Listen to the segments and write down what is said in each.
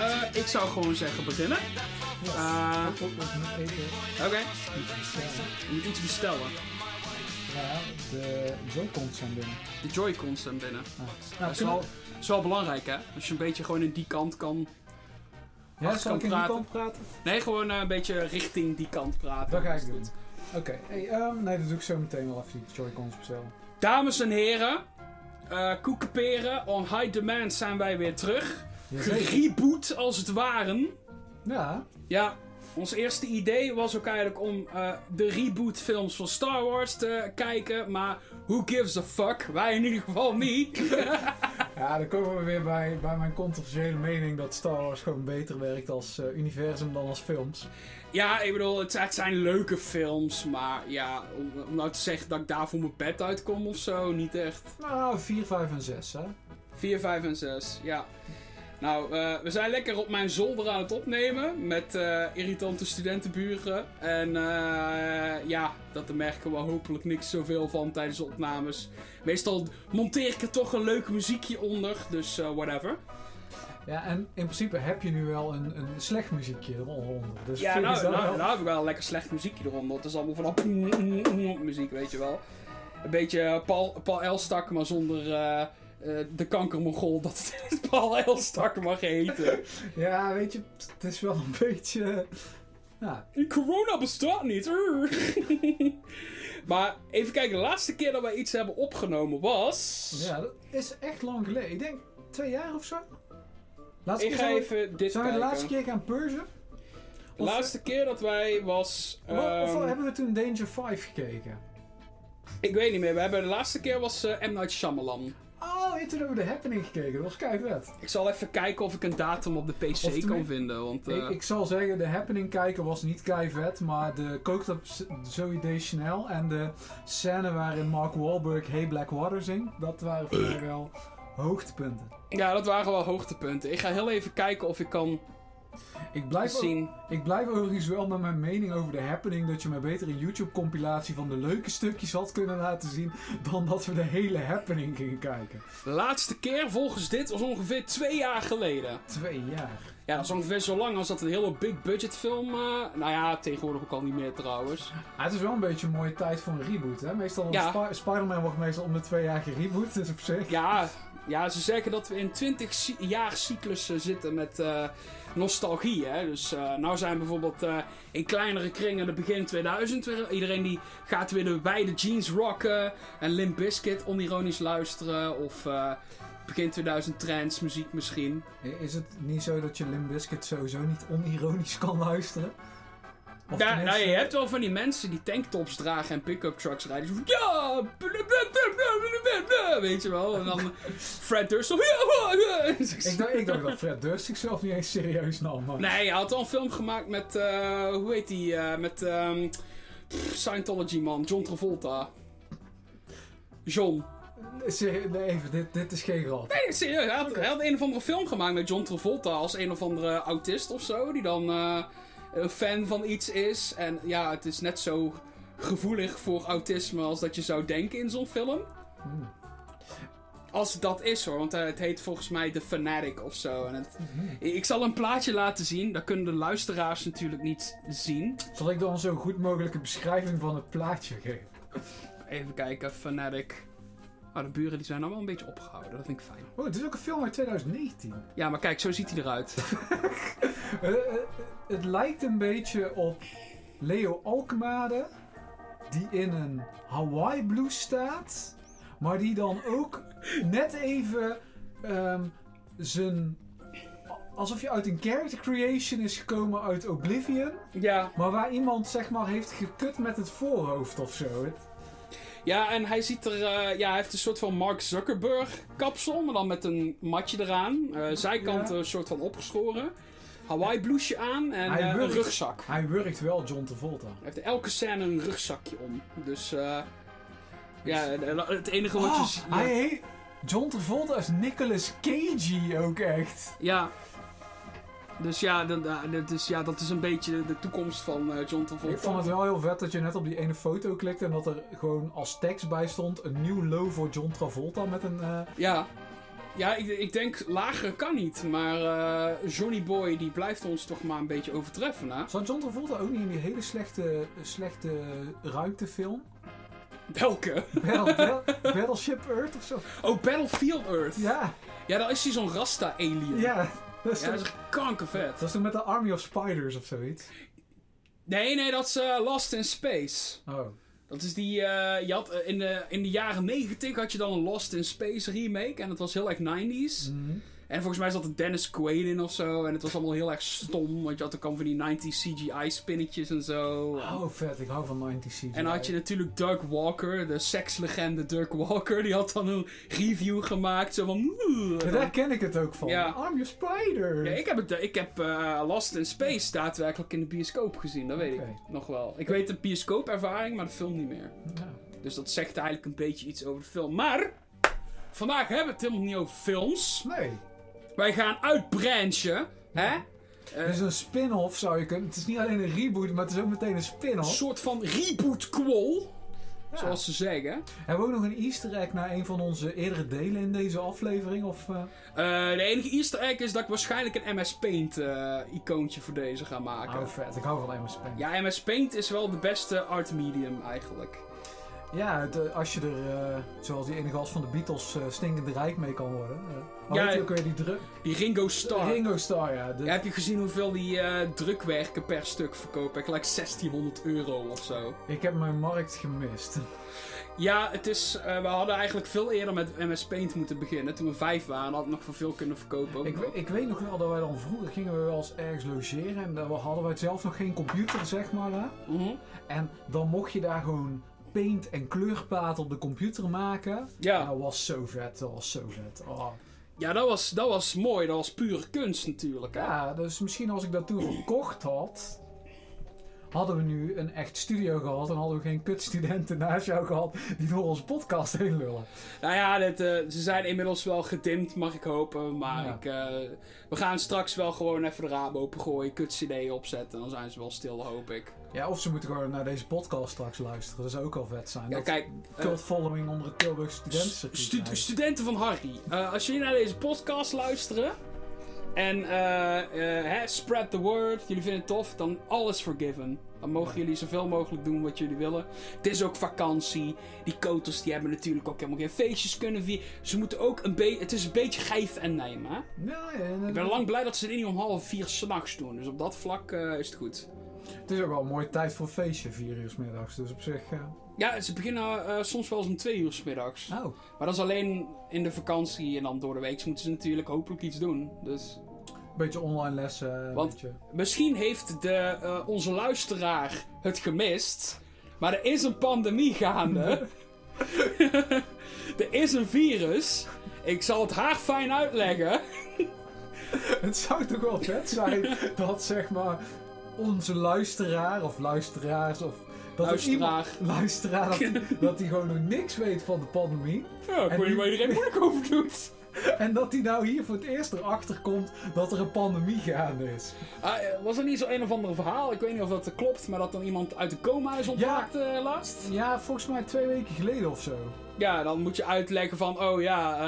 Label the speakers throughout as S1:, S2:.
S1: Eh, ik zou gewoon zeggen beginnen. Eh,
S2: Ik ook nog niet eten.
S1: Oké. Je moet iets bestellen.
S2: Ja, de Joy-Cons zijn binnen.
S1: De Joy-Cons zijn binnen.
S2: Ah.
S1: Dat
S2: Nou,
S1: is wel, is wel belangrijk, hè? Als je een beetje gewoon in die kant kan...
S2: ja, zal
S1: kan
S2: ik in die
S1: praten.
S2: kant praten?
S1: Nee, gewoon eh, een beetje richting die kant praten.
S2: Dat ga
S1: Is
S2: ik doen.
S1: goed.
S2: Oké, hey, ehm, nee, dat doe ik zo meteen wel even die Joy-Cons bestellen.
S1: Dames en heren, eh koekenperen on high demand zijn wij weer terug.
S2: Jazeker.
S1: Gereboot als het ware.
S2: Ja,
S1: Ja, ons eerste idee was ook eigenlijk om eh, de reboot films van Star Wars te kijken. Maar who gives a fuck? Wij in ieder geval niet.
S2: ja, dan komen we weer bij, bij mijn controversiële mening dat Star Wars gewoon beter werkt als eh, universum dan als films.
S1: ja, ik bedoel, het, het zijn leuke films. Maar ja, om, om nou te zeggen dat ik daar voor mijn bed uitkom of zo, niet echt.
S2: Nou, 4, 5 en 6, hè?
S1: 4, 5 en 6, ja. Nou, eh, we zijn lekker op mijn zolder aan het opnemen met eh, irritante studentenburen. En eh, ja, dat merken we hopelijk niks zoveel van tijdens de opnames. Meestal monteer ik er toch een leuk muziekje onder, dus eh, whatever.
S2: Ja, en in principe heb je nu wel een, een slecht muziekje eronder. Dus
S1: Ja,
S2: vind
S1: nou,
S2: ik dat
S1: nou,
S2: wel-
S1: nou heb ik wel lekker slecht muziekje eronder. Het is allemaal van dat muziek, weet je wel. Een beetje eh, Paul, Paul Elstak, maar zonder eh, eh, de kankermogol dat het Paul Elstak mag heten.
S2: Ja, weet je, het is wel een beetje... Ja,
S1: Corona bestaat niet. Urgh. maar even kijken, de laatste keer dat wij iets hebben opgenomen was.
S2: ja, dat is echt lang geleden. Ik denk twee jaar of zo. Laatste
S1: Ik
S2: keer
S1: ga
S2: zijn we-
S1: even dit
S2: Zijn we de
S1: kijken.
S2: laatste keer gaan purgen?
S1: De laatste keer dat wij was.
S2: Of, of
S1: ehm,
S2: hebben we toen Danger 5 gekeken?
S1: Ik weet niet meer. We hebben de laatste keer was eh, M. Night Shyamalan.
S2: Oh, en toen hebben we de Happening gekeken. Dat was kei vet.
S1: Ik zal even kijken of ik een datum op de PC
S2: Of tenmin-
S1: kan vinden. Want, eh,
S2: Ik, ik zal zeggen, de Happening kijken was niet kei vet, maar de Cooked Up S- Zoe Deschanel en de scène waarin Mark Wahlberg Hey Black Water zingt, dat waren voor mij wel hoogtepunten.
S1: Ja, dat waren wel hoogtepunten. Ik ga heel even kijken of ik kan
S2: Ik blijf, ook,
S1: zien.
S2: ik blijf overigens wel met mijn mening over de Happening dat je mij beter een YouTube-compilatie van de leuke stukjes had kunnen laten zien dan dat we de hele Happening gingen kijken.
S1: De laatste keer volgens dit was ongeveer twee jaar geleden.
S2: Twee jaar.
S1: Ja, dat is ongeveer zo lang als dat een hele big budget film. eh, nou ja, tegenwoordig ook al niet meer trouwens.
S2: Ah, het is wel een beetje een mooie tijd voor een reboot, hè? Meestal wordt
S1: Ja.
S2: Spi- Spider-Man wordt meestal om de twee jaar gereboot, dus op zich.
S1: Ja, ja, ze zeggen dat we in 20 ci- jaar cyclussen zitten met eh, nostalgie. Hè? Dus eh, nou zijn bijvoorbeeld eh, in kleinere kringen de begin 2000 weer. Iedereen die gaat weer de wijde jeans rocken en Limp Bizkit onironisch luisteren. Of eh, begin 2000 trance muziek misschien.
S2: Is het niet zo dat je Limp Bizkit sowieso niet onironisch kan luisteren? Of
S1: Ja,
S2: tenminste-
S1: nou, je hebt wel van die mensen die tanktops dragen en pick-up trucks rijden. Zo van, ja, bla, bla, bla, bla, bla, bla, weet je wel. En dan Fred Durst. zo, ja, ja, ja.
S2: Ik dacht, ik dacht dat Fred Durst zichzelf niet eens serieus nam, maar...
S1: Nee, hij had al een film gemaakt met, eh, hoe heet die, eh, met ehm, pff, Scientology man, John Travolta. John.
S2: Serie- nee, even, dit, dit is geen grap.
S1: Nee, serieus, hij had, hij had een of andere film gemaakt met John Travolta als een of andere autist of zo, die dan eh, een fan van iets is. En ja, het is net zo gevoelig voor autisme als dat je zou denken in zo'n film.
S2: Hmm.
S1: Als dat is hoor, want eh, het heet volgens mij The Fanatic of zo. En het,
S2: Mhm.
S1: ik zal een plaatje laten zien, dat kunnen de luisteraars natuurlijk niet zien.
S2: Zal ik dan zo goed mogelijke beschrijving van het plaatje geven?
S1: Even kijken, Fanatic. Oh, de buren die zijn allemaal een beetje opgehouden. Dat vind ik fijn.
S2: Oh, het is ook een film uit 2019.
S1: Ja, maar kijk, zo ziet hij eruit.
S2: Eh, eh, eh, het lijkt een beetje op Leo Alkmaar, die in een Hawaii blues staat, maar die dan ook net even ehm, zijn. alsof je uit een character creation is gekomen uit Oblivion,
S1: ja.
S2: maar waar iemand zeg maar heeft gekut met het voorhoofd of zo. Het-
S1: ja, en hij ziet er... eh, ja, hij heeft een soort van Mark Zuckerberg kapsel. Maar dan met een matje eraan. Eh, zijkant
S2: Ja.
S1: een soort van opgeschoren. Hawaii blouseje aan en
S2: Hij
S1: eh, een
S2: wurgt.
S1: rugzak. Hij
S2: Hij werkt wel John Travolta.
S1: heeft in elke scène een rugzakje om. Dus... eh, ja, het enige wat je
S2: Ah,
S1: ziet... ja.
S2: hij heet John Travolta is Nicolas Cage ook echt.
S1: Ja. Dus ja, dan- dan- dat is, ja, dat is een beetje de toekomst van eh, John Travolta.
S2: Ik vond het wel heel vet dat je net op die ene foto klikte en dat er gewoon als tekst bij stond een nieuw low voor John Travolta met een, eh,
S1: Ja, Ja, ik, ik denk lager kan niet. Maar eh, Johnny Boy die blijft ons toch maar een beetje overtreffen. Hè?
S2: Zou John Travolta ook niet in die hele slechte, slechte ruimtefilm?
S1: Welke?
S2: Battle- Battle- Battleship Earth of zo?
S1: Oh, Battlefield Earth. Ja,
S2: Ja,
S1: daar is hij zo'n Rasta-alien.
S2: ja. Dat is,
S1: Ja, dat
S2: toch,
S1: is kankervet.
S2: dat is toch met de Army of Spiders of zoiets?
S1: Nee, nee, dat is eh, Lost in Space.
S2: Oh.
S1: Dat is die, eh, je had, eh, in, de, in de jaren 90 had je dan een Lost in Space remake. En het was heel erg 90s.
S2: Mhm.
S1: En volgens mij zat er Dennis Quaid in of zo. En het was allemaal heel erg stom. Want je had ook al van die 90s CGI spinnetjes en zo.
S2: Oh, vet. Ik hou van 90 CGI.
S1: En dan had je natuurlijk Doug Walker, de sekslegende Doug Walker. Die had dan een review gemaakt. Zo van... "Oeh."
S2: Ja, daar ken ik het ook van.
S1: Ja.
S2: Army of Spiders.
S1: Ja, ik heb, het, ik heb eh, Lost in Space daadwerkelijk in de bioscoop gezien. Dat weet
S2: Oké.
S1: ik nog wel. Ik weet de bioscoopervaring, maar de film niet meer.
S2: Ja.
S1: Dus dat zegt eigenlijk een beetje iets over de film. Maar vandaag hebben we het helemaal niet over films.
S2: Nee.
S1: Wij gaan uitbranchen. Hè? Eh,
S2: Dus een spin-off zou je kunnen. Het is niet alleen een reboot, maar het is ook meteen een
S1: een
S2: spin-off.
S1: soort van reboot-kwol,
S2: Ja.
S1: zoals ze zeggen.
S2: Hebben we ook nog een easter egg naar een van onze eerdere delen in deze aflevering? Of, eh,
S1: Eh, de enige easter egg is dat ik waarschijnlijk een MS Paint eh, icoontje voor deze ga maken.
S2: Oh, vet. Ik hou van MS Paint.
S1: Ja, MS Paint is wel de beste art medium eigenlijk.
S2: Ja, het, eh, als je er, eh, zoals die ene gast van de Beatles, eh, stinkende rijk mee kan worden. eh. Maar
S1: Ja,
S2: weet je
S1: eh,
S2: ook weer die druk...
S1: Die Ringo Starr.
S2: Ringo Starr, ja. De-
S1: Ja, heb je gezien hoeveel die eh, drukwerken per stuk verkopen? Gelijk 1600 euro of zo.
S2: Ik heb mijn markt gemist.
S1: Ja, het is, eh, we hadden eigenlijk veel eerder met MS Paint moeten beginnen. Toen we vijf waren, had ik nog voor veel kunnen verkopen. Ook
S2: Ik,
S1: nog.
S2: we- ik weet nog wel dat wij dan vroeger gingen we wel eens ergens logeren. En dan hadden wij zelf nog geen computer, zeg maar. Hè?
S1: Mhm.
S2: En dan mocht je daar gewoon paint en kleurplaat op de computer maken. En
S1: Ja,
S2: Ah, dat was zo vet, dat was zo vet. Oh.
S1: ja dat, was, dat was mooi. Dat was pure kunst natuurlijk. Hè?
S2: Ja, dus misschien als ik dat toen verkocht had, hadden we nu een echt studio gehad en hadden we geen kutstudenten naast jou gehad die door onze podcast heen lullen.
S1: Nou ja, dit, eh, ze zijn inmiddels wel gedimd, mag ik hopen. Maar
S2: Ja.
S1: ik, eh, we gaan straks wel gewoon even de raam opengooien, kut-cd opzetten. Dan zijn ze wel stil, hoop ik.
S2: Ja, of ze moeten gewoon naar deze podcast straks luisteren. Dat zou ook al vet zijn.
S1: Ja,
S2: dat
S1: Nou, kijk,
S2: cult following onder het Tilburg
S1: Stu-
S2: studenten.
S1: stu- studenten van Harry, eh, als jullie naar deze podcast luisteren en eh, eh, hè, spread the word, jullie vinden het tof, dan alles forgiven. Dan mogen jullie zoveel mogelijk doen wat jullie willen. Het is ook vakantie. Die koters die hebben natuurlijk ook helemaal geen feestjes kunnen vieren. Ze moeten ook een beetje... Het is een beetje gijf en nemen, hè?
S2: Ja, ja, ja,
S1: Ik ben lang blij dat ze dit niet om half vier s'nachts doen. Dus op dat vlak eh, is het goed.
S2: Het is ook wel een mooie tijd voor een feestje, vier uur 's middags. Dus op zich. eh,
S1: Ja, ze beginnen eh, soms wel eens om twee uur 's middags.
S2: Oh.
S1: Maar dat is alleen in de vakantie en dan door de week moeten ze natuurlijk hopelijk iets doen. Dus
S2: Een beetje online lessen. een
S1: Want-
S2: beetje-
S1: misschien heeft de, eh, onze luisteraar het gemist. Maar er is een pandemie gaande. er is een virus. Ik zal het haar fijn uitleggen.
S2: Het zou toch wel vet zijn dat zeg maar onze luisteraar of luisteraars of dat er
S1: Luisteraar.
S2: iemand- luisteraar dat, die- dat die gewoon nog niks weet van de pandemie
S1: Ja, ik
S2: En
S1: weet niet
S2: nu-
S1: waar iedereen moeilijk over doet.
S2: en dat die nou hier voor het eerst erachter komt dat er een pandemie gaande is.
S1: Ah, eh, was er niet zo een of ander verhaal? Ik weet niet of dat klopt, maar dat dan iemand uit de coma is ontwaakt eh, laatst?
S2: Ja, volgens mij twee weken geleden of zo.
S1: Ja, dan moet je uitleggen van, oh ja,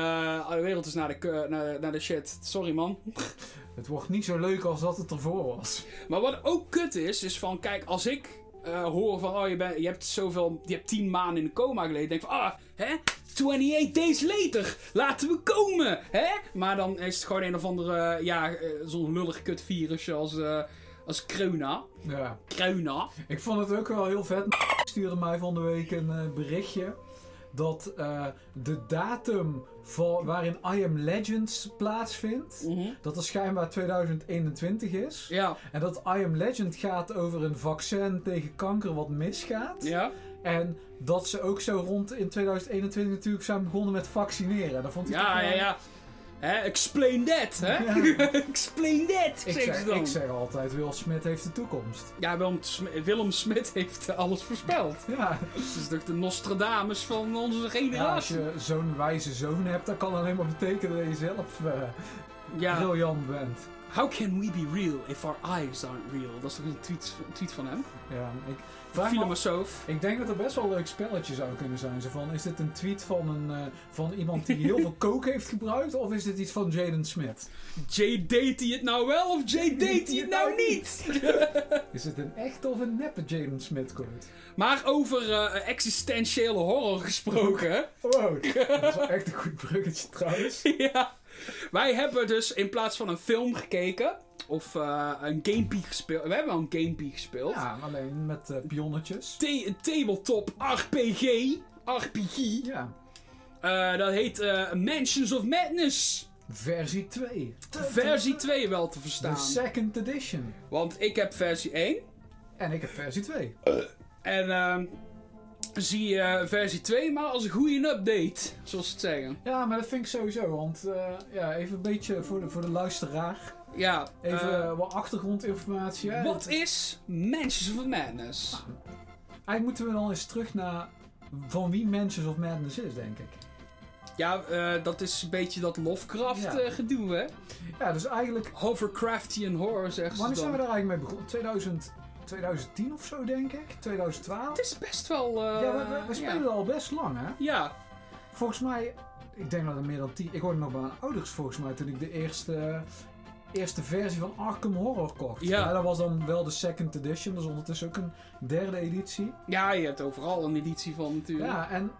S1: eh, de wereld is naar de, ke- naar, naar de shit. Sorry man.
S2: Het wordt niet zo leuk als dat het ervoor was.
S1: Maar wat ook kut is, is van, kijk, als ik eh, hoor van, oh je, bent je hebt zoveel, je hebt tien maanden in de coma geleden. denk ik van, ah, hè, 28 days later, laten we komen, hè. Maar dan is het gewoon een of andere, ja, eh, zo'n lullig kut virusje als, eh, als Kreuna.
S2: Ja.
S1: Kreuna.
S2: Ik vond het ook wel heel vet. stuurde mij van de week een eh, berichtje. Dat eh, de datum van, waarin I Am Legends plaatsvindt. Dat er schijnbaar 2021 is.
S1: Ja,
S2: En dat I Am Legend gaat over een vaccin tegen kanker wat misgaat.
S1: ja.
S2: En dat ze ook zo rond in 2021 natuurlijk zijn begonnen met vaccineren. Dat vond ik
S1: Ja,
S2: toch
S1: ja,
S2: wel-
S1: ja. Hè, explain that, hè?
S2: Ja.
S1: explain that,
S2: Ik
S1: zeggen ze
S2: zeg,
S1: dan.
S2: ik zeg altijd, Will Smith heeft de toekomst.
S1: Ja, Willem, Sm- Willem Smit heeft eh, alles voorspeld.
S2: Ja,
S1: Het is toch de Nostradamus van onze
S2: ja als
S1: generatie? Ja,
S2: je zo'n wijze zoon hebt, dat kan alleen maar betekenen dat je zelf eh,
S1: ja,
S2: briljant bent.
S1: How can we be real if our eyes aren't real? Dat is toch een tweet, tweet van hem?
S2: Ja, ik, vraag me af-
S1: Filosoof.
S2: ik denk dat er best wel een leuk spelletje zou kunnen zijn. Zo van, is dit een tweet van, een, eh, van iemand die heel veel coke heeft gebruikt? Of is dit iets van Jaden Smith?
S1: Jay date hij het nou wel of Jay date hij het nou niet?
S2: Is het een echte of een neppe Jaden Smith quote?
S1: Maar over eh, existentiële horror gesproken.
S2: Wow, dat is wel echt een goed bruggetje trouwens.
S1: Oh. ja. Wij hebben dus in plaats van een film gekeken. Of eh, een gamepie gespeeld. We hebben wel een gamepie gespeeld.
S2: Ja, alleen met eh, pionnetjes.
S1: Ta- een tabletop RPG. RPG.
S2: Ja,
S1: Eh, dat heet eh, Mansions of Madness.
S2: versie 2.
S1: Versie 2 wel te
S2: De
S1: verstaan.
S2: second edition.
S1: Want ik heb versie 1.
S2: En ik heb versie 2.
S1: En ehm, zie je versie 2 maar als een goede update. Zoals ze het zeggen.
S2: Ja, maar dat vind ik sowieso, want eh, ja, even een beetje voor de, voor de luisteraar.
S1: Ja.
S2: Even
S1: eh,
S2: eh, wat achtergrondinformatie. hè.
S1: Wat is Mansions of Madness?
S2: Eigenlijk moeten we dan eens terug naar van wie Mansions of Madness is, denk ik.
S1: Ja, eh, dat is een beetje dat Lovecraft
S2: Ja.
S1: eh, gedoe, hè?
S2: Ja, dus eigenlijk,
S1: Hovercraftian horror, zeggen ze
S2: wanneer zijn
S1: dan.
S2: we daar eigenlijk mee begonnen? 2000, 2010 of zo, denk ik? 2012?
S1: Het is best wel... eh,
S2: ja, we, we- we spelen
S1: ja.
S2: al best lang, hè?
S1: Ja,
S2: Volgens mij, ik denk dat er meer dan 10... Ik hoorde nog bij mijn ouders, volgens mij, toen ik de eerste... Eerste versie van Arkham Horror kocht.
S1: Ja.
S2: dat was dan wel de second edition, dus ondertussen ook een derde editie.
S1: Ja, je hebt overal een editie van natuurlijk.
S2: Ja, en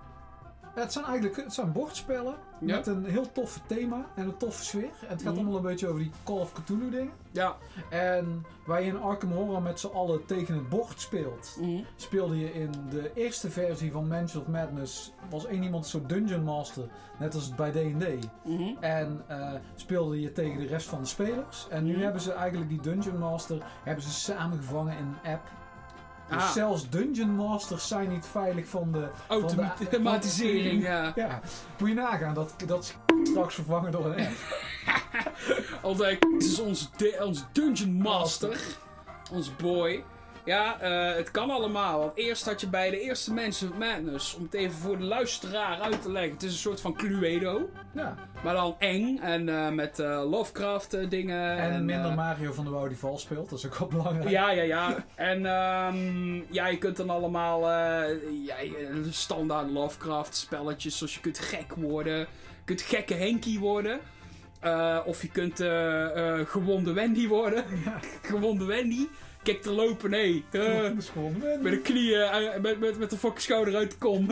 S2: het zijn eigenlijk het zijn bordspellen
S1: Ja.
S2: met een heel tof thema en een toffe sfeer. En het gaat
S1: Mhm.
S2: allemaal een beetje over die Call of Cthulhu dingen.
S1: Ja.
S2: En waar je in Arkham Horror met z'n allen tegen het bord speelt,
S1: Mhm.
S2: speelde je in de eerste versie van Mansion of Madness, was één iemand zo'n Dungeon Master, net als bij D&D.
S1: Mhm.
S2: En eh, speelde je tegen de rest van de spelers. En nu
S1: Mhm.
S2: hebben ze eigenlijk die Dungeon Master hebben ze samengevangen in een app. Dus
S1: Ah.
S2: zelfs Dungeon Masters zijn niet veilig van de
S1: Automatisering, ja.
S2: ja, moet je nagaan dat, dat is straks vervangen door een app.
S1: Altijd, het is onze, de- onze dungeon master. Ons boy. Ja, eh, het kan allemaal. Want eerst had je bij de eerste Mansions of Madness, om het even voor de luisteraar uit te leggen. Het is een soort van Cluedo.
S2: Ja.
S1: Maar dan eng en eh, met eh, Lovecraft eh, dingen.
S2: En, minder
S1: eh,
S2: Mario van de Wouw die vals speelt, dat is ook wel belangrijk.
S1: Ja, ja, ja. En ehm, ja, je kunt dan allemaal eh, ja, je- standaard Lovecraft spelletjes. Zoals je kunt gek worden. Je kunt gekke Henky worden. Eh, of je kunt eh, eh, gewonde Wendy worden. gewonde Wendy. Kijk te lopen, nee. Eh,
S2: Dat is gewoon win.
S1: met de knieën, eh, met, met, met de fucking schouder uit de kom.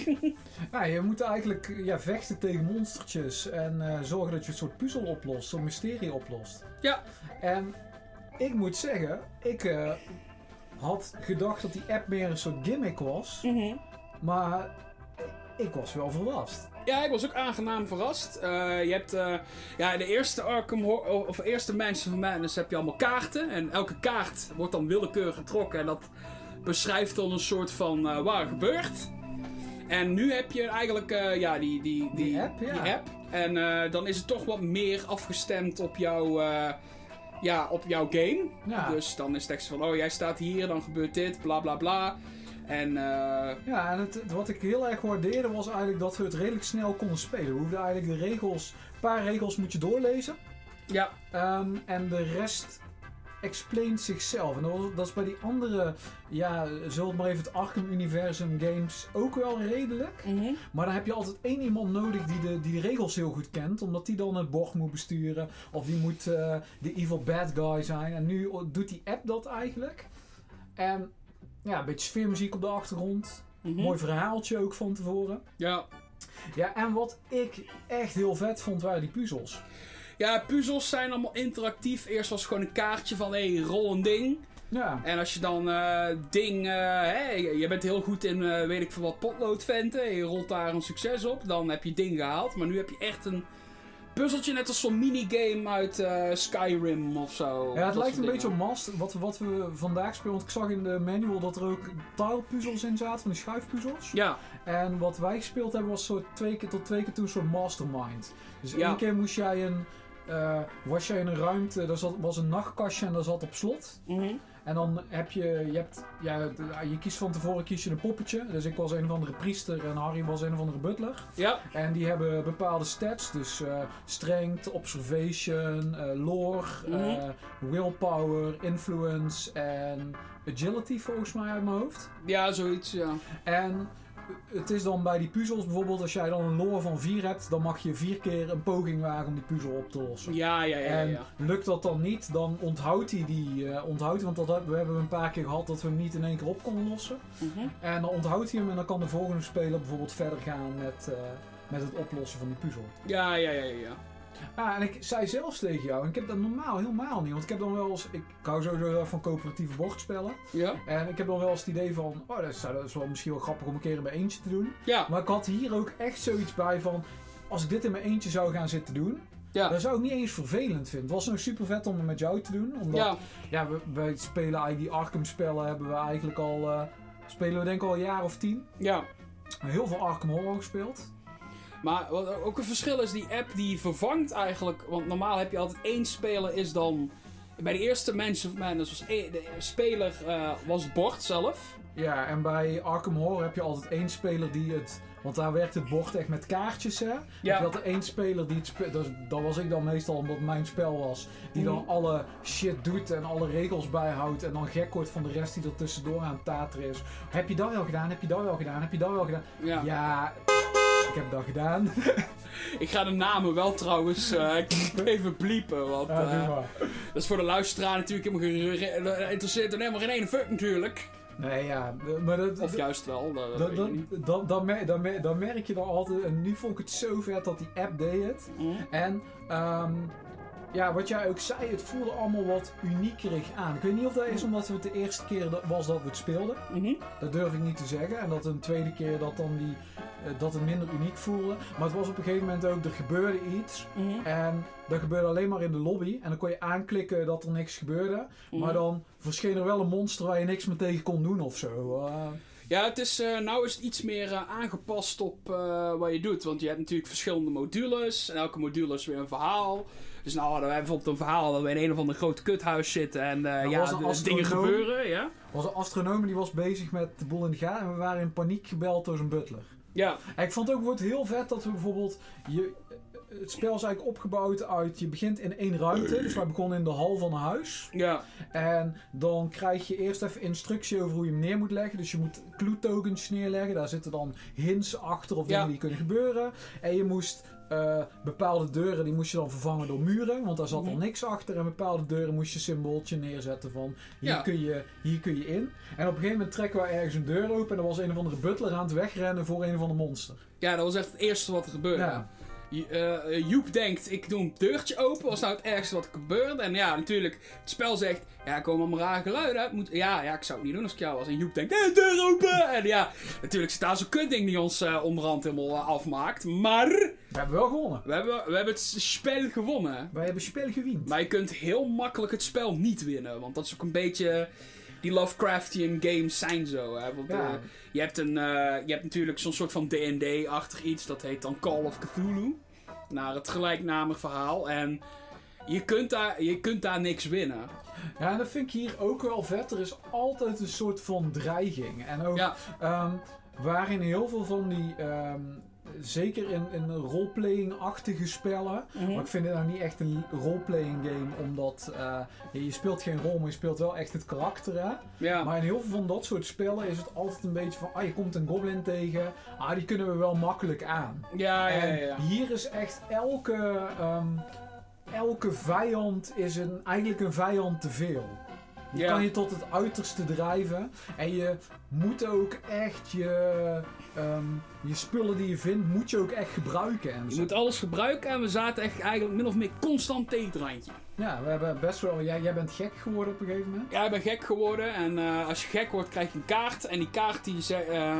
S2: Ja, je moet eigenlijk ja, vechten tegen monstertjes en eh, zorgen dat je een soort puzzel oplost, zo'n mysterie oplost.
S1: Ja.
S2: En ik moet zeggen, ik eh, had gedacht dat die app meer een soort gimmick was, maar ik was wel verrast.
S1: Ja, ik was ook aangenaam verrast. Eh, je hebt eh, ja, de eerste Arkham Hor- of eerste Mansion van Madness heb je allemaal kaarten. En elke kaart wordt dan willekeurig getrokken. En dat beschrijft dan een soort van eh, waar gebeurt. En nu heb je eigenlijk eh, ja, die, die, die,
S2: Die app, ja.
S1: die app. En eh, dan is het toch wat meer afgestemd op jouw, eh, ja, op jouw game.
S2: Ja.
S1: Dus dan is het echt zo van, oh jij staat hier, dan gebeurt dit, bla bla bla. En eh,
S2: Ja, en het, het- wat ik heel erg waardeerde was eigenlijk dat we het redelijk snel konden spelen. We hoefden eigenlijk de regels, een paar regels moet je doorlezen.
S1: ja,
S2: Ehm, en de rest explaint zichzelf. En dat, was- dat is bij die andere, ja, zullen we het maar even het Arkham Universum games ook wel redelijk. Maar dan heb je altijd één iemand nodig die de, die de regels heel goed kent. Omdat die dan het bocht moet besturen. Of die moet eh, de evil bad guy zijn. En nu doet die app dat eigenlijk. En ja, een beetje sfeermuziek op de achtergrond.
S1: Mhm.
S2: Mooi verhaaltje ook van tevoren.
S1: ja.
S2: Ja, en wat ik echt heel vet vond waren die puzzels.
S1: Ja, puzzels zijn allemaal interactief. Eerst was het gewoon een kaartje van, hé, hey, rol een ding.
S2: Ja.
S1: En als je dan eh, ding, eh, hè, je je bent heel goed in, eh, weet ik veel wat, potloodventen. en Je rolt daar een succes op, dan heb je ding gehaald. Maar nu heb je echt een puzzeltje, net als zo'n minigame uit eh, Skyrim of zo.
S2: Ja,
S1: Dat
S2: het lijkt een
S1: soort
S2: beetje op
S1: dingen.
S2: Master, wat, wat we vandaag spelen. Want ik zag in de manual dat er ook tilepuzzels in zaten, van die schuifpuzzels.
S1: Ja,
S2: En wat wij gespeeld hebben was zo twee keer tot twee keer toe een soort mastermind. Dus
S1: Ja.
S2: één keer moest jij een, eh, was je in een ruimte, daar zat, was een nachtkastje en daar zat op slot.
S1: Mhm.
S2: En dan heb je, je, hebt, ja, het- je kiest van tevoren kies je een poppetje. Dus ik was een of andere priester en Harry was een of andere butler.
S1: Ja,
S2: En die hebben bepaalde stats, dus eh, strength, observation, eh, lore, eh,
S1: Mhm.
S2: willpower, influence en agility volgens mij uit mijn hoofd.
S1: ja, zoiets, ja.
S2: En het is dan bij die puzzels bijvoorbeeld, als jij dan een lore van 4 hebt, dan mag je vier keer een poging wagen om die puzzel op te lossen.
S1: Ja, ja, ja, ja.
S2: En
S1: ja.
S2: lukt dat dan niet, dan onthoudt hij die. eh, onthoudt hij, want dat, hebben- we hebben een paar keer gehad dat we hem niet in één keer op konden lossen.
S1: Mhm.
S2: En dan onthoudt hij hem en dan kan de volgende speler bijvoorbeeld verder gaan met, eh, met het oplossen van die puzzel.
S1: Ja, ja, ja, ja, ja.
S2: Ah, en ik zei zelfs tegen jou, en ik heb dat normaal helemaal niet, want ik heb dan wel eens, ik hou sowieso heel erg van coöperatieve bordspellen.
S1: Ja,
S2: En ik heb dan wel eens het idee van, oh dat is, dat is wel misschien wel grappig om een keer in mijn eentje te doen.
S1: ja,
S2: Maar ik had hier ook echt zoiets bij van, als ik dit in mijn eentje zou gaan zitten doen,
S1: ja.
S2: dat zou ik niet eens vervelend vinden. Het was nou super vet om het met jou te doen, omdat
S1: Ja,
S2: ja, we, wij spelen eigenlijk die Arkham spellen hebben we eigenlijk al, eh, spelen we denk ik al een jaar of tien.
S1: ja.
S2: Heel veel Arkham Horror gespeeld.
S1: Maar wat ook een verschil is, die app die vervangt eigenlijk... Want normaal heb je altijd één speler is dan... Bij de eerste mensen, man, dus was één- de speler eh, was het bord zelf.
S2: Ja, en bij Arkham Horror heb je altijd één speler die het... Want daar werkt het bord echt met kaartjes, hè?
S1: Ja.
S2: Je had er één speler die het spe- dus dat was ik dan meestal, omdat het mijn spel was. Die dan
S1: Mhm.
S2: alle shit doet en alle regels bijhoudt. En dan gek wordt van de rest die er tussendoor aan het tateren is. Heb je dat wel gedaan? Heb je dat wel gedaan? Heb je dat wel gedaan?
S1: Ja.
S2: ja ik heb dat gedaan.
S1: Ik ga de namen wel trouwens eh, even bliepen, want
S2: Ja,
S1: eh,
S2: doe maar.
S1: dat is voor de luisteraar natuurlijk helemaal geen- dat interesseert er helemaal geen ene fuck natuurlijk.
S2: Nee, ja. Maar dat,
S1: Of juist wel, dat,
S2: Dat,
S1: weet
S2: dat,
S1: ik niet.
S2: dat, dat, mer- dat mer- dat merk je dan altijd. En nu vond ik het zo vet dat die app deed het.
S1: Hm?
S2: En ehm, ja, wat jij ook zei, het voelde allemaal wat uniekerig aan. Ik weet niet of dat is omdat het de eerste keer dat- was dat we het speelden.
S1: Mhm.
S2: Dat durf ik niet te zeggen. En dat een tweede keer dat, dan die, eh, dat het minder uniek voelde. Maar het was op een gegeven moment ook, er gebeurde iets.
S1: Mhm.
S2: En dat gebeurde alleen maar in de lobby. En dan kon je aanklikken dat er niks gebeurde.
S1: Mm.
S2: Maar dan verscheen er wel een monster waar je niks mee tegen kon doen of zo. Eh,
S1: Ja, het is, eh, nou is het iets meer eh, aangepast op eh, wat je doet. Want je hebt natuurlijk verschillende modules. En elke module is weer een verhaal. Dus nou hadden wij bijvoorbeeld een verhaal dat we in een of ander groot kuthuis zitten. En eh,
S2: Er
S1: ja,
S2: was een
S1: de- dingen
S2: astronoom.
S1: gebeuren. Ja,
S2: was een astronoom die was bezig met de boel in de gaten. En we waren in paniek gebeld door zijn butler.
S1: ja,
S2: En ik vond het ook wordt heel vet dat we bijvoorbeeld... Je, eh, het spel is eigenlijk opgebouwd uit... Je begint in één ruimte. Dus wij begonnen in de hal van een huis.
S1: ja.
S2: En dan krijg je eerst even instructie over hoe je hem neer moet leggen. Dus je moet clue tokens neerleggen. Daar zitten dan hints achter of dingen
S1: Ja.
S2: die kunnen gebeuren. En je moest eh, bepaalde deuren, die moest je dan vervangen door muren. Want daar zat al
S1: Mhm.
S2: niks achter. En bepaalde deuren moest je een symbooltje neerzetten van hier,
S1: Ja.
S2: kun je, hier kun je in. En op een gegeven moment trekken we ergens een deur open. En er was een of andere butler aan het wegrennen voor een of ander monster.
S1: ja, dat was echt het eerste wat er gebeurde.
S2: Ja.
S1: Je- eh, Joep denkt, ik doe een deurtje open. was nou het ergste wat er gebeurde. En ja, natuurlijk, het spel zegt, ja, er komen allemaal rare geluiden uit. Moet, ja, ja, ik zou het niet doen als ik jou was. En Joep denkt, nee, deur open! En ja, natuurlijk zit daar zo'n kutding die ons eh, onderhand helemaal eh, afmaakt. Maar
S2: We hebben wel gewonnen.
S1: we hebben, we hebben het spel gewonnen.
S2: Wij hebben spel gewiend.
S1: Maar je kunt heel makkelijk het spel niet winnen. Want dat is ook een beetje... Die Lovecraftian games zijn zo. Hè? Want,
S2: Ja.
S1: eh, je, hebt een, eh, je hebt natuurlijk zo'n soort van D&D-achtig iets. Dat heet dan Call of Cthulhu. Naar het gelijknamig verhaal. En je kunt daar, je kunt daar niks winnen.
S2: Ja, en dat vind ik hier ook wel vet. Er is altijd een soort van dreiging. En ook
S1: Ja.
S2: ehm, waarin heel veel van die. ehm, zeker in, in roleplaying-achtige spellen. Maar ik vind het nou niet echt een roleplaying game, omdat eh, je, je speelt geen rol, maar je speelt wel echt het karakter. Hè?
S1: Ja.
S2: Maar in heel veel van dat soort spellen is het altijd een beetje van: ah, je komt een goblin tegen. Ah, die kunnen we wel makkelijk aan.
S1: ja, ja, ja,
S2: En
S1: ja.
S2: hier is echt elke, ehm, elke vijand is een, eigenlijk een vijand te veel. Je
S1: Ja.
S2: kan je tot het uiterste drijven. En je moet ook echt je, ehm, je spullen die je vindt, moet je ook echt gebruiken. En
S1: Je
S2: zo.
S1: moet alles gebruiken. En we zaten echt eigenlijk min of meer constant tegen het randje.
S2: Ja, we hebben best wel... Jij, jij bent gek geworden op een gegeven moment.
S1: Ja, ik ben gek geworden. En eh, als je gek wordt, krijg je een kaart. En die kaart die ze- eh,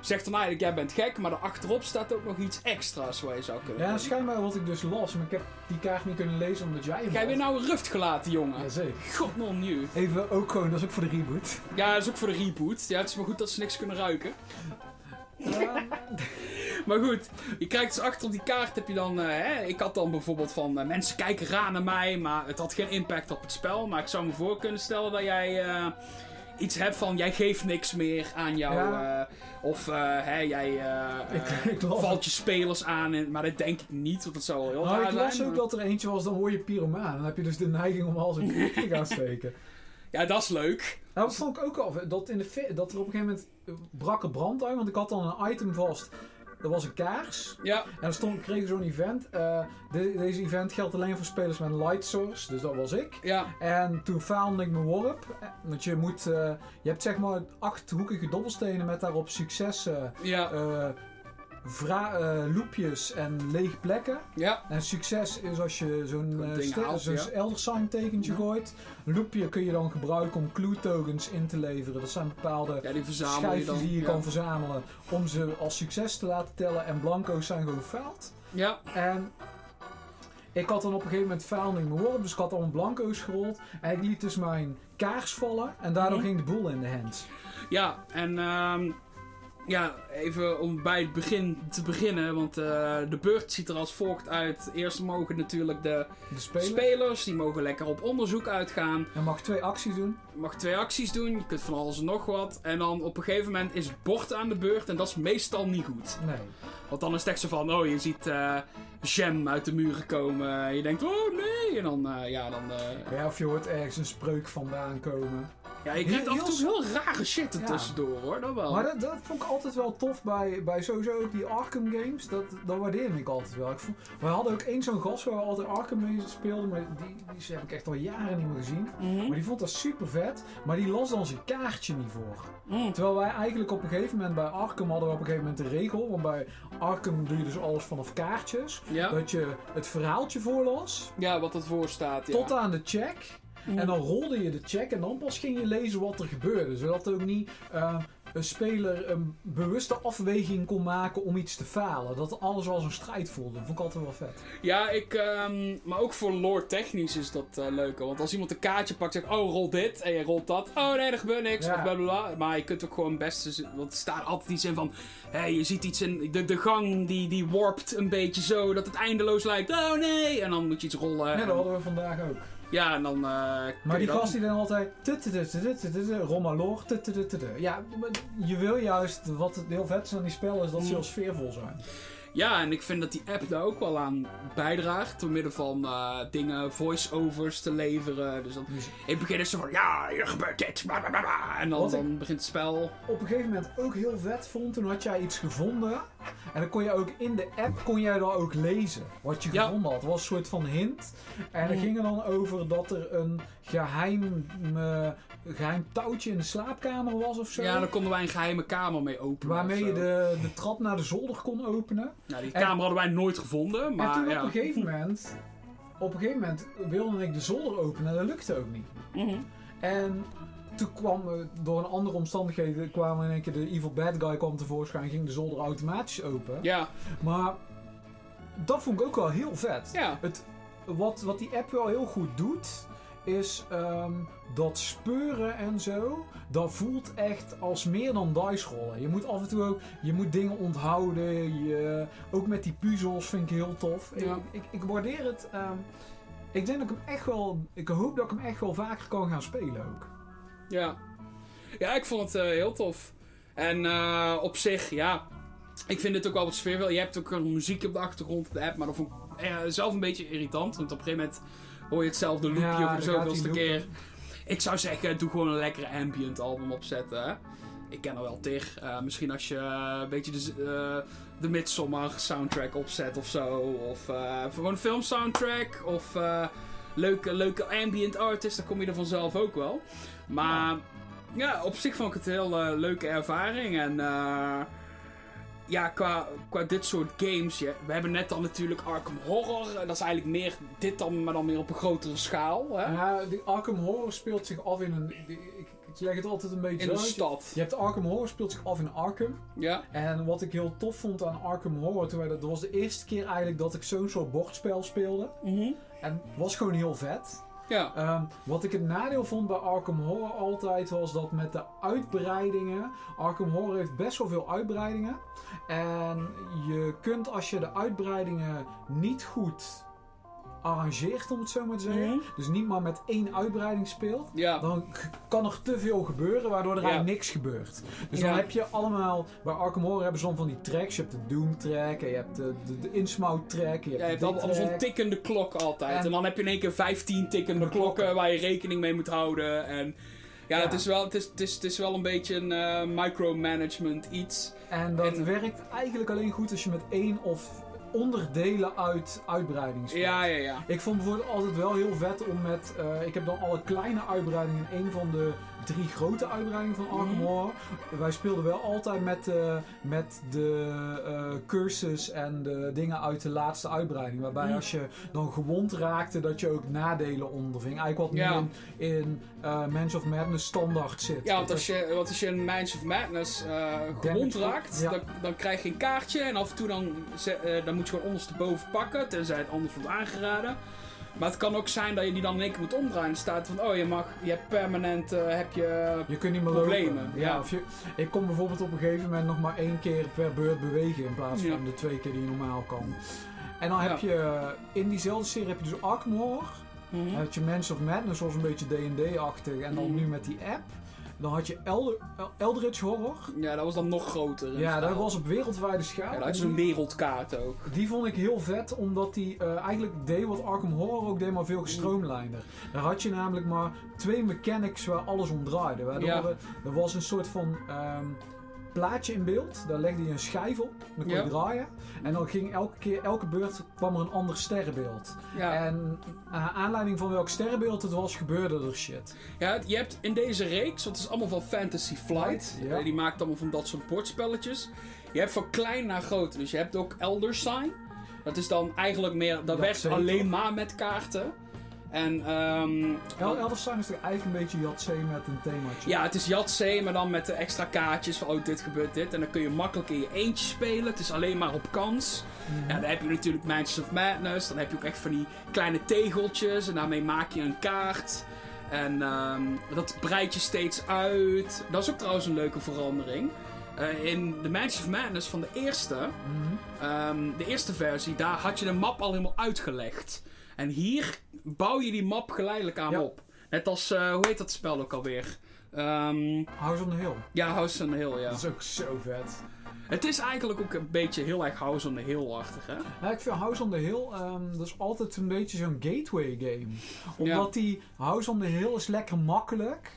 S1: zegt dan eigenlijk, jij bent gek. Maar daarachterop staat ook nog iets extra's waar je zou kunnen
S2: Ja,
S1: doen.
S2: schijnbaar wat ik dus las, maar ik heb die kaart niet kunnen lezen omdat jij hem
S1: Jij weer
S2: had.
S1: nou een ruft gelaten, jongen.
S2: Jazeker.
S1: God non you.
S2: Even ook gewoon, dat is ook voor de reboot.
S1: Ja, dat is ook voor de reboot. Ja, het is maar goed dat ze niks kunnen ruiken.
S2: Ehm,
S1: Maar goed, je kijkt dus achter op die kaart heb je dan... eh, hè, ik had dan bijvoorbeeld van... eh, mensen kijken raar naar mij, maar het had geen impact op het spel. Maar ik zou me voor kunnen stellen dat jij... eh, Iets hebt van, jij geeft niks meer aan jou.
S2: Ja.
S1: eh, of eh, hè, jij eh,
S2: Ik-
S1: eh,
S2: ik las-
S1: valt je spelers aan. en- maar dat denk ik niet, want dat zou wel heel
S2: Nou,
S1: raar
S2: ik las
S1: zijn.
S2: ook
S1: maar-
S2: dat er eentje was, dan hoor je pyromaan. Dan heb je dus de neiging om alles in je te gaan steken.
S1: Ja, dat is leuk.
S2: Nou, dat vond ik ook al. Dat, in de, fi- dat er op een gegeven moment eh, brak er brand uit, want ik had dan een item vast. Dat was een kaars.
S1: Ja,
S2: En dan stond, kreeg ik zo'n event. eh, de- deze event geldt alleen voor spelers met een light source, dus dat was ik.
S1: ja,
S2: En toen faalde ik mijn worp. eh, Want je moet, eh, je hebt zeg maar achthoekige dobbelstenen met daarop successen,
S1: ja,
S2: eh vra- eh, loepjes en lege plekken.
S1: ja.
S2: En succes is als je zo'n
S1: Zo'n
S2: eh,
S1: ding
S2: ster-
S1: haalt,
S2: zo'n
S1: ja. Mhm.
S2: Elder Sign tekentje
S1: Ja.
S2: gooit. Een loopje kun je dan gebruiken om clue tokens in te leveren. Dat zijn bepaalde
S1: Ja, die verzamel je
S2: schijfjes
S1: dan.
S2: die je
S1: ja.
S2: kan verzamelen om ze als succes te laten tellen. En blanco's zijn gewoon faald.
S1: ja,
S2: En ik had dan op een gegeven moment faald in mijn worp, dus ik had allemaal blanco's gerold. En ik liet dus mijn kaars vallen en daardoor
S1: Mhm.
S2: ging de boel in de hand.
S1: ja, en ehm, ja, even om bij het begin te beginnen, want eh, de beurt ziet er als volgt uit. Eerst mogen natuurlijk de
S2: De speler.
S1: spelers, die mogen lekker op onderzoek uitgaan.
S2: en mag twee acties doen.
S1: Je mag twee acties doen, je kunt van alles en nog wat. En dan op een gegeven moment is het bord aan de beurt en dat is meestal niet goed.
S2: Nee.
S1: Want dan is het echt zo van, oh, je ziet eh jam uit de muren komen. En je denkt, oh nee, en dan, eh, ja, dan... eh,
S2: Ja, of je hoort ergens een spreuk vandaan komen.
S1: Ja, je krijgt
S2: Heel-
S1: af en toe
S2: heel
S1: heel rare shit er
S2: Ja.
S1: tussendoor hoor, dat wel.
S2: Maar dat, dat vond ik altijd wel tof bij, bij sowieso ook die Arkham games. Dat, dat waardeerde ik altijd wel. Ik voel- we hadden ook één zo'n gast waar we altijd Arkham mee speelden. Maar die, die heb ik echt al jaren niet meer gezien.
S1: Mhm.
S2: Maar die vond dat super vet. Maar die las dan zijn kaartje niet voor.
S1: Mm.
S2: Terwijl wij eigenlijk op een gegeven moment bij Arkham hadden we op een gegeven moment de regel. Want bij Arkham doe je dus alles vanaf kaartjes.
S1: Ja.
S2: Dat je het verhaaltje voorlas.
S1: ja, wat ervoor staat. Ja.
S2: Tot aan de check.
S1: Mhm.
S2: En dan rolde je de check en dan pas ging je lezen wat er gebeurde. Zodat ook niet eh, een speler een bewuste afweging kon maken om iets te falen. Dat alles als een strijd voelde. Vond ik altijd wel vet.
S1: Ja, ik, ehm, maar ook voor lore technisch is dat eh leuker. Want als iemand een kaartje pakt, zegt, oh, rol dit. En je rolt dat. Oh, nee, er gebeurt niks.
S2: Ja.
S1: Of bla, bla, bla. Maar je kunt ook gewoon best, eens- want er staat altijd iets in van, hé, je ziet iets in, de, de gang die, die warpt een beetje zo, dat het eindeloos lijkt. Oh, nee. En dan moet je iets rollen.
S2: Ja,
S1: En-
S2: dat hadden we vandaag ook.
S1: ja, en dan... eh, kun
S2: Maar
S1: je
S2: die
S1: dat-
S2: gast die dan altijd... tut, tut, tut, tut, tut, tut, Rommelor. tut, tut, tut, tut, tut. Ja, maar je wil juist... Wat het heel vet is aan die spellen is dat ze
S1: Mm.
S2: heel sfeervol zijn.
S1: Ja, en ik vind dat die app daar ook wel aan bijdraagt. Door middel van eh, dingen, voice-overs te leveren. Dus dan,
S2: Dus
S1: in het begin is ze van, ja, hier gebeurt dit. bla, bla, bla, bla. En dan,
S2: Wat ik-
S1: dan begint het spel.
S2: op een gegeven moment ook heel vet vond, toen had jij iets gevonden. En dan kon je ook in de app kon jij dan ook lezen wat je
S1: Ja.
S2: gevonden had. Het was een soort van hint. En dat
S1: Mm.
S2: ging er dan over dat er een geheim, eh, geheim touwtje in de slaapkamer was of zo.
S1: Ja, dan konden wij een geheime kamer mee openen.
S2: Waarmee
S1: of
S2: je
S1: zo.
S2: de, de trap naar de zolder kon openen.
S1: Nou, die
S2: en-
S1: kamer hadden wij nooit gevonden, maar
S2: en toen
S1: ja.
S2: op een gegeven moment. Op een gegeven moment wilde ik de zolder openen en dat lukte ook niet.
S1: Mhm.
S2: En toen kwam eh, door een andere omstandigheden kwamen in één keer de evil bad guy kwam tevoorschijn en ging de zolder automatisch open.
S1: Ja,
S2: Maar dat vond ik ook wel heel vet.
S1: ja.
S2: Wat, wat die app wel heel goed doet, is ehm, dat speuren en zo, dat voelt echt als meer dan dice rollen. Je moet af en toe ook, je moet dingen onthouden, je, ook met die puzzels vind ik heel tof. Ik-
S1: Ja.
S2: Ik, ik, waardeer het, ehm, ik denk dat ik hem echt wel, ik hoop dat ik hem echt wel vaker kan gaan spelen ook.
S1: Ja. Ja, ik vond het eh, heel tof. En eh, op zich, ja. Ik vind het ook wel wat sfeervol. Je hebt ook een muziek op de achtergrond op de app, maar dat vond ik eh, zelf een beetje irritant. Want op een gegeven moment hoor je hetzelfde loopje
S2: Ja,
S1: voor de
S2: dan gaat die
S1: zoveelste
S2: loop.
S1: keer. Ik zou zeggen, doe gewoon een lekkere ambient album opzetten. Hè? Ik ken er wel tig. Eh, misschien als je eh, een beetje de, z- eh, de Midsommar soundtrack opzet of zo. Of eh, gewoon een film soundtrack. Of eh, leuke, leuke ambient artist. Dan kom je er vanzelf ook wel. Maar ja, op zich vond ik het een heel eh, leuke ervaring. En eh, ja, qua, qua dit soort games. ja, we hebben net dan natuurlijk Arkham Horror. Eh, Dat is eigenlijk meer dit dan, maar dan meer op een grotere schaal. Hè?
S2: Ja, die Arkham Horror speelt zich af in een, die- ik, ik leg het altijd een beetje
S1: In de
S2: zo uit.
S1: stad.
S2: Je hebt Arkham Horror speelt zich af in Arkham.
S1: Ja,
S2: En wat ik heel tof vond aan Arkham Horror, toen wij dat, dat was de eerste keer eigenlijk dat ik zo'n soort bordspel speelde.
S1: Mhm.
S2: En het was gewoon heel vet.
S1: Ja.
S2: Ehm, wat ik het nadeel vond bij Arkham Horror altijd was dat met de uitbreidingen. Arkham Horror heeft best wel veel uitbreidingen. En je kunt als je de uitbreidingen niet goed arrangeert, om het zo maar te zeggen.
S1: Mhm.
S2: Dus niet maar met één uitbreiding speelt.
S1: Ja.
S2: Dan k- kan er te veel gebeuren, waardoor er
S1: Ja.
S2: eigenlijk niks gebeurt. Dus dan
S1: Ja.
S2: heb je allemaal... Bij Arkham Horror hebben ze dan van die tracks. Je hebt de Doom track, en je hebt de, de, de Insmout track, en je hebt eh,
S1: Ja, je hebt
S2: die
S1: al- al zo'n
S2: track.
S1: tikkende klok altijd.
S2: En-
S1: En, dan heb je in één keer 15 tikkende
S2: Klokken.
S1: klokken waar je rekening mee moet houden. En ja,
S2: Ja.
S1: Het, is wel, het, is, het, is, het is wel een beetje een eh, micromanagement iets.
S2: En dat
S1: En-
S2: werkt eigenlijk alleen goed als je met één of onderdelen uit uitbreiding speelt.
S1: Ja, ja, ja.
S2: Ik vond bijvoorbeeld altijd wel heel vet om met... eh, ik heb dan alle kleine uitbreidingen in één van de drie grote uitbreidingen van Arkham
S1: Mhm.
S2: Horror. Wij speelden wel altijd met, eh, met de eh, cursus en de dingen uit de laatste uitbreiding. Waarbij
S1: Mhm.
S2: als je dan gewond raakte, dat je ook nadelen onderving. Eigenlijk wat
S1: Ja.
S2: nu in, in eh Mans of Madness standaard zit.
S1: Ja,
S2: Dat
S1: want als je, want als je in Minds of Madness eh, gewond
S2: Damage,
S1: raakt,
S2: ja.
S1: dan, dan krijg je een kaartje. En af en toe dan, ze- eh, dan moet je gewoon ondersteboven pakken, tenzij het anders wordt aangeraden. Maar het kan ook zijn dat je die dan in één keer moet omdraaien. Er staat van, oh, je, mag, je hebt permanent, eh, heb je...
S2: Je kunt niet meer
S1: Problemen,
S2: lopen.
S1: ja.
S2: of je, ik kon bijvoorbeeld op een gegeven moment nog maar één keer per beurt bewegen in plaats van
S1: Ja.
S2: de twee keer die je normaal kan. En dan heb je eh, in diezelfde serie heb je dus Arkham Horror,
S1: Mhm.
S2: dan had je Mans of Madness, was een beetje D&D-achtig en dan
S1: Mhm.
S2: nu met die app. Dan had je Elder, El- Eldritch Horror.
S1: Ja, dat was dan nog groter. in
S2: Ja,
S1: schaal.
S2: dat was op wereldwijde schaal.
S1: Ja, dat had je zo'n wereldkaart ook.
S2: Die vond ik heel vet, omdat die eh, eigenlijk deed wat Arkham Horror ook deed, maar veel gestroomlijnder. Daar had je namelijk maar twee mechanics waar alles om draaide. Waardoor
S1: Ja.
S2: er, er was een soort van ehm, plaatje in beeld, daar legde je een schijf op, dan kon je
S1: Ja.
S2: draaien. En dan ging elke keer, elke beurt kwam er een ander sterrenbeeld.
S1: Ja.
S2: En naar aanleiding van welk sterrenbeeld het was, gebeurde er shit.
S1: Ja, je hebt in deze reeks, want het is allemaal van Fantasy Flight.
S2: Ja.
S1: eh, Die maakt allemaal van dat soort bordspelletjes. Je hebt van klein naar groot. Dus je hebt ook Elder Sign. Dat is dan eigenlijk meer. Dat,
S2: Dat
S1: werkt
S2: zeker.
S1: alleen maar met kaarten. En ehm,
S2: El Elders Sign is toch eigenlijk een beetje Yatzee met een themaatje.
S1: ja, het is Yatzee, maar dan met de extra kaartjes van oh, dit gebeurt dit. En dan kun je makkelijk in je eentje spelen. Het is alleen maar op kans.
S2: Mhm.
S1: Ja, dan heb je natuurlijk Mansions of Madness. Dan heb je ook echt van die kleine tegeltjes. En daarmee maak je een kaart. En ehm, dat breidt je steeds uit. Dat is ook trouwens een leuke verandering. Eh, in de Mansions of Madness van de eerste,
S2: Mhm.
S1: ehm, de eerste versie, daar had je de map al helemaal uitgelegd. En hier bouw je die map geleidelijk aan
S2: Ja.
S1: op. Net als, eh, hoe heet dat spel ook alweer? Ehm,
S2: House on the Hill.
S1: ja, House on the Hill, ja.
S2: Dat is ook zo vet.
S1: Het is eigenlijk ook een beetje heel erg House on the Hill-achtig, hè?
S2: Ja, ik vind House on the Hill, ehm, dat is altijd een beetje zo'n gateway game. Omdat die House on the Hill is lekker makkelijk.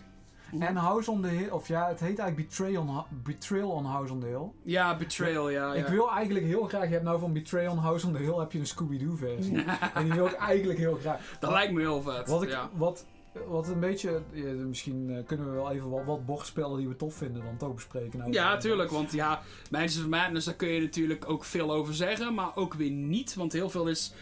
S1: Mhm.
S2: En House on the Hill, of ja, het heet eigenlijk Betrayal on, Ho- Betrayal on House on the Hill.
S1: Ja, Betrayal, ja. Ah, ja.
S2: Ik wil eigenlijk heel graag, je hebt nou van Betrayal on House on the Hill heb je een Scooby-Doo versie. en die wil ik eigenlijk heel graag.
S1: Dat lijkt me heel vet.
S2: Wat ik,
S1: ja.
S2: wat, wat een beetje, ja, misschien eh, kunnen we wel even wat, wat bordspellen die we tof vinden dan toch bespreken. Nou,
S1: ja, tuurlijk. Want ja, Mansions of Madness, daar kun je natuurlijk ook veel over zeggen. Maar ook weer niet, want heel veel is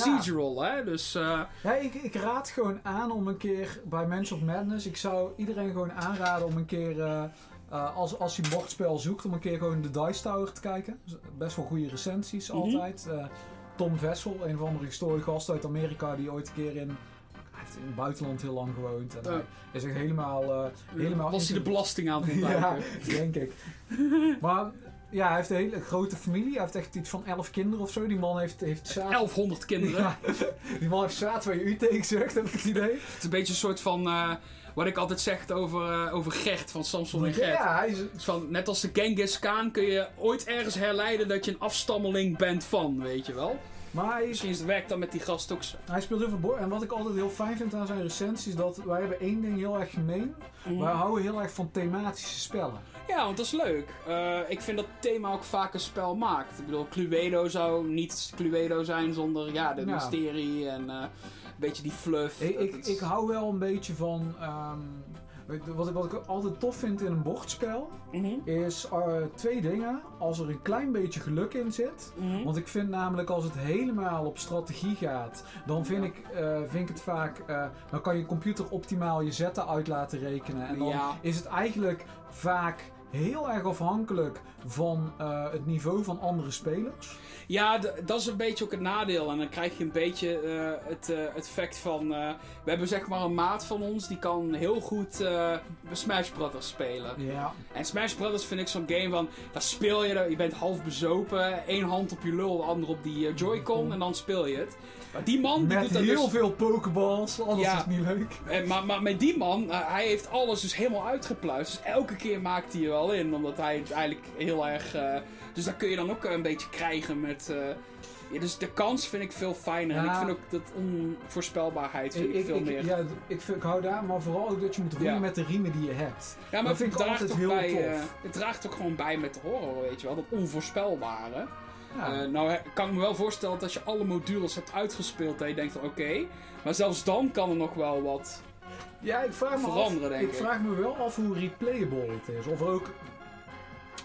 S1: procedural, hè. Dus eh,
S2: Ja, ik, ik raad gewoon aan om een keer bij Mansions of Madness. Ik zou iedereen gewoon aanraden om een keer, eh, eh, als, als je bordspel zoekt, om een keer gewoon de Dice Tower te kijken. Z- Best wel goede recensies
S1: Mhm.
S2: altijd. Eh, Tom Vessel, een van de historische gast uit Amerika, die ooit een keer in. Hij heeft in het buitenland heel lang gewoond. En
S1: Ja.
S2: hij is echt helemaal. eh, helemaal
S1: was hij de belasting aan het
S2: ja,
S1: ontduiken.
S2: denk ik. Maar ja, hij heeft een hele grote familie. Hij heeft echt iets van elf kinderen of zo. Die man heeft, heeft zaad-
S1: 1100 kinderen.
S2: Ja, die man heeft zaad waar je u tegen zegt, heb ik het idee.
S1: Het is een beetje een soort van... eh, wat ik altijd zeg over, eh, over Gert, van Samson en Gert.
S2: Ja, hij is...
S1: Het is Van, net als de Genghis Khan kun je ooit ergens herleiden dat je een afstammeling bent van, weet je wel.
S2: Maar hij, is,
S1: Misschien is het werk dan met die gast ook zo.
S2: hij speelt heel veel bord. En wat ik altijd heel fijn vind aan zijn recensies, dat wij hebben één ding heel erg gemeen. Wij houden heel erg van thematische spellen.
S1: Ja, want dat is leuk. Eh, ik vind dat thema ook vaak een spel maakt. Ik bedoel, Cluedo zou niet Cluedo zijn zonder ja, de
S2: Ja.
S1: mysterie en eh, een beetje die fluff.
S2: Ik,
S1: Dat
S2: ik,
S1: is-
S2: ik hou wel een beetje van... ehm, weet je, wat, ik, wat ik altijd tof vind in een bordspel,
S1: Mhm,
S2: is eh, twee dingen. Als er een klein beetje geluk in zit...
S1: mhm.
S2: Want ik vind namelijk als het helemaal op strategie gaat, dan vind,
S1: Ja.
S2: ik, eh, vind ik het vaak. eh, dan kan je computer optimaal je zetten uit laten rekenen. En dan
S1: Ja.
S2: is het eigenlijk vaak heel erg afhankelijk van eh, het niveau van andere spelers.
S1: Ja, d- dat is een beetje ook het nadeel. En dan krijg je een beetje eh, het, eh, het fact van... eh, we hebben zeg maar een maat van ons die kan heel goed eh, Smash Brothers spelen.
S2: Ja.
S1: En Smash Brothers vind ik zo'n game van... Daar speel je, je bent half bezopen. één hand op je lul, de andere op die eh, Joy-Con. En dan speel je het. Maar die man die
S2: Met
S1: doet dat
S2: heel
S1: dus...
S2: veel pokeballs, anders
S1: Ja.
S2: is niet leuk.
S1: Eh, maar, maar met die man, eh, hij heeft alles dus helemaal uitgepluist. Dus elke keer maakt hij er wel in, omdat hij het eigenlijk heel erg... eh, dus dat kun je dan ook eh, een beetje krijgen met... eh, ja, dus de kans vind ik veel fijner. En
S2: Ja.
S1: ik vind ook dat onvoorspelbaarheid vind ik, veel
S2: ik,
S1: meer. Ja,
S2: ja, d- ik, vind- ik hou daar, maar vooral ook dat je moet roeien
S1: Ja.
S2: met de riemen die je hebt.
S1: maar
S2: dat vind ik
S1: het draagt
S2: altijd
S1: ook
S2: heel
S1: bij,
S2: tof.
S1: eh, het draagt ook gewoon bij met de horror, weet je wel. Dat onvoorspelbare.
S2: Ja.
S1: Eh, nou he- kan ik me wel voorstellen dat als je alle modules hebt uitgespeeld, dat je denkt van oké. maar zelfs dan kan er nog wel wat...
S2: Ja, ik vraag me, af,
S1: veranderen, denk ik.
S2: vraag me wel af hoe replayable het is. Of ook,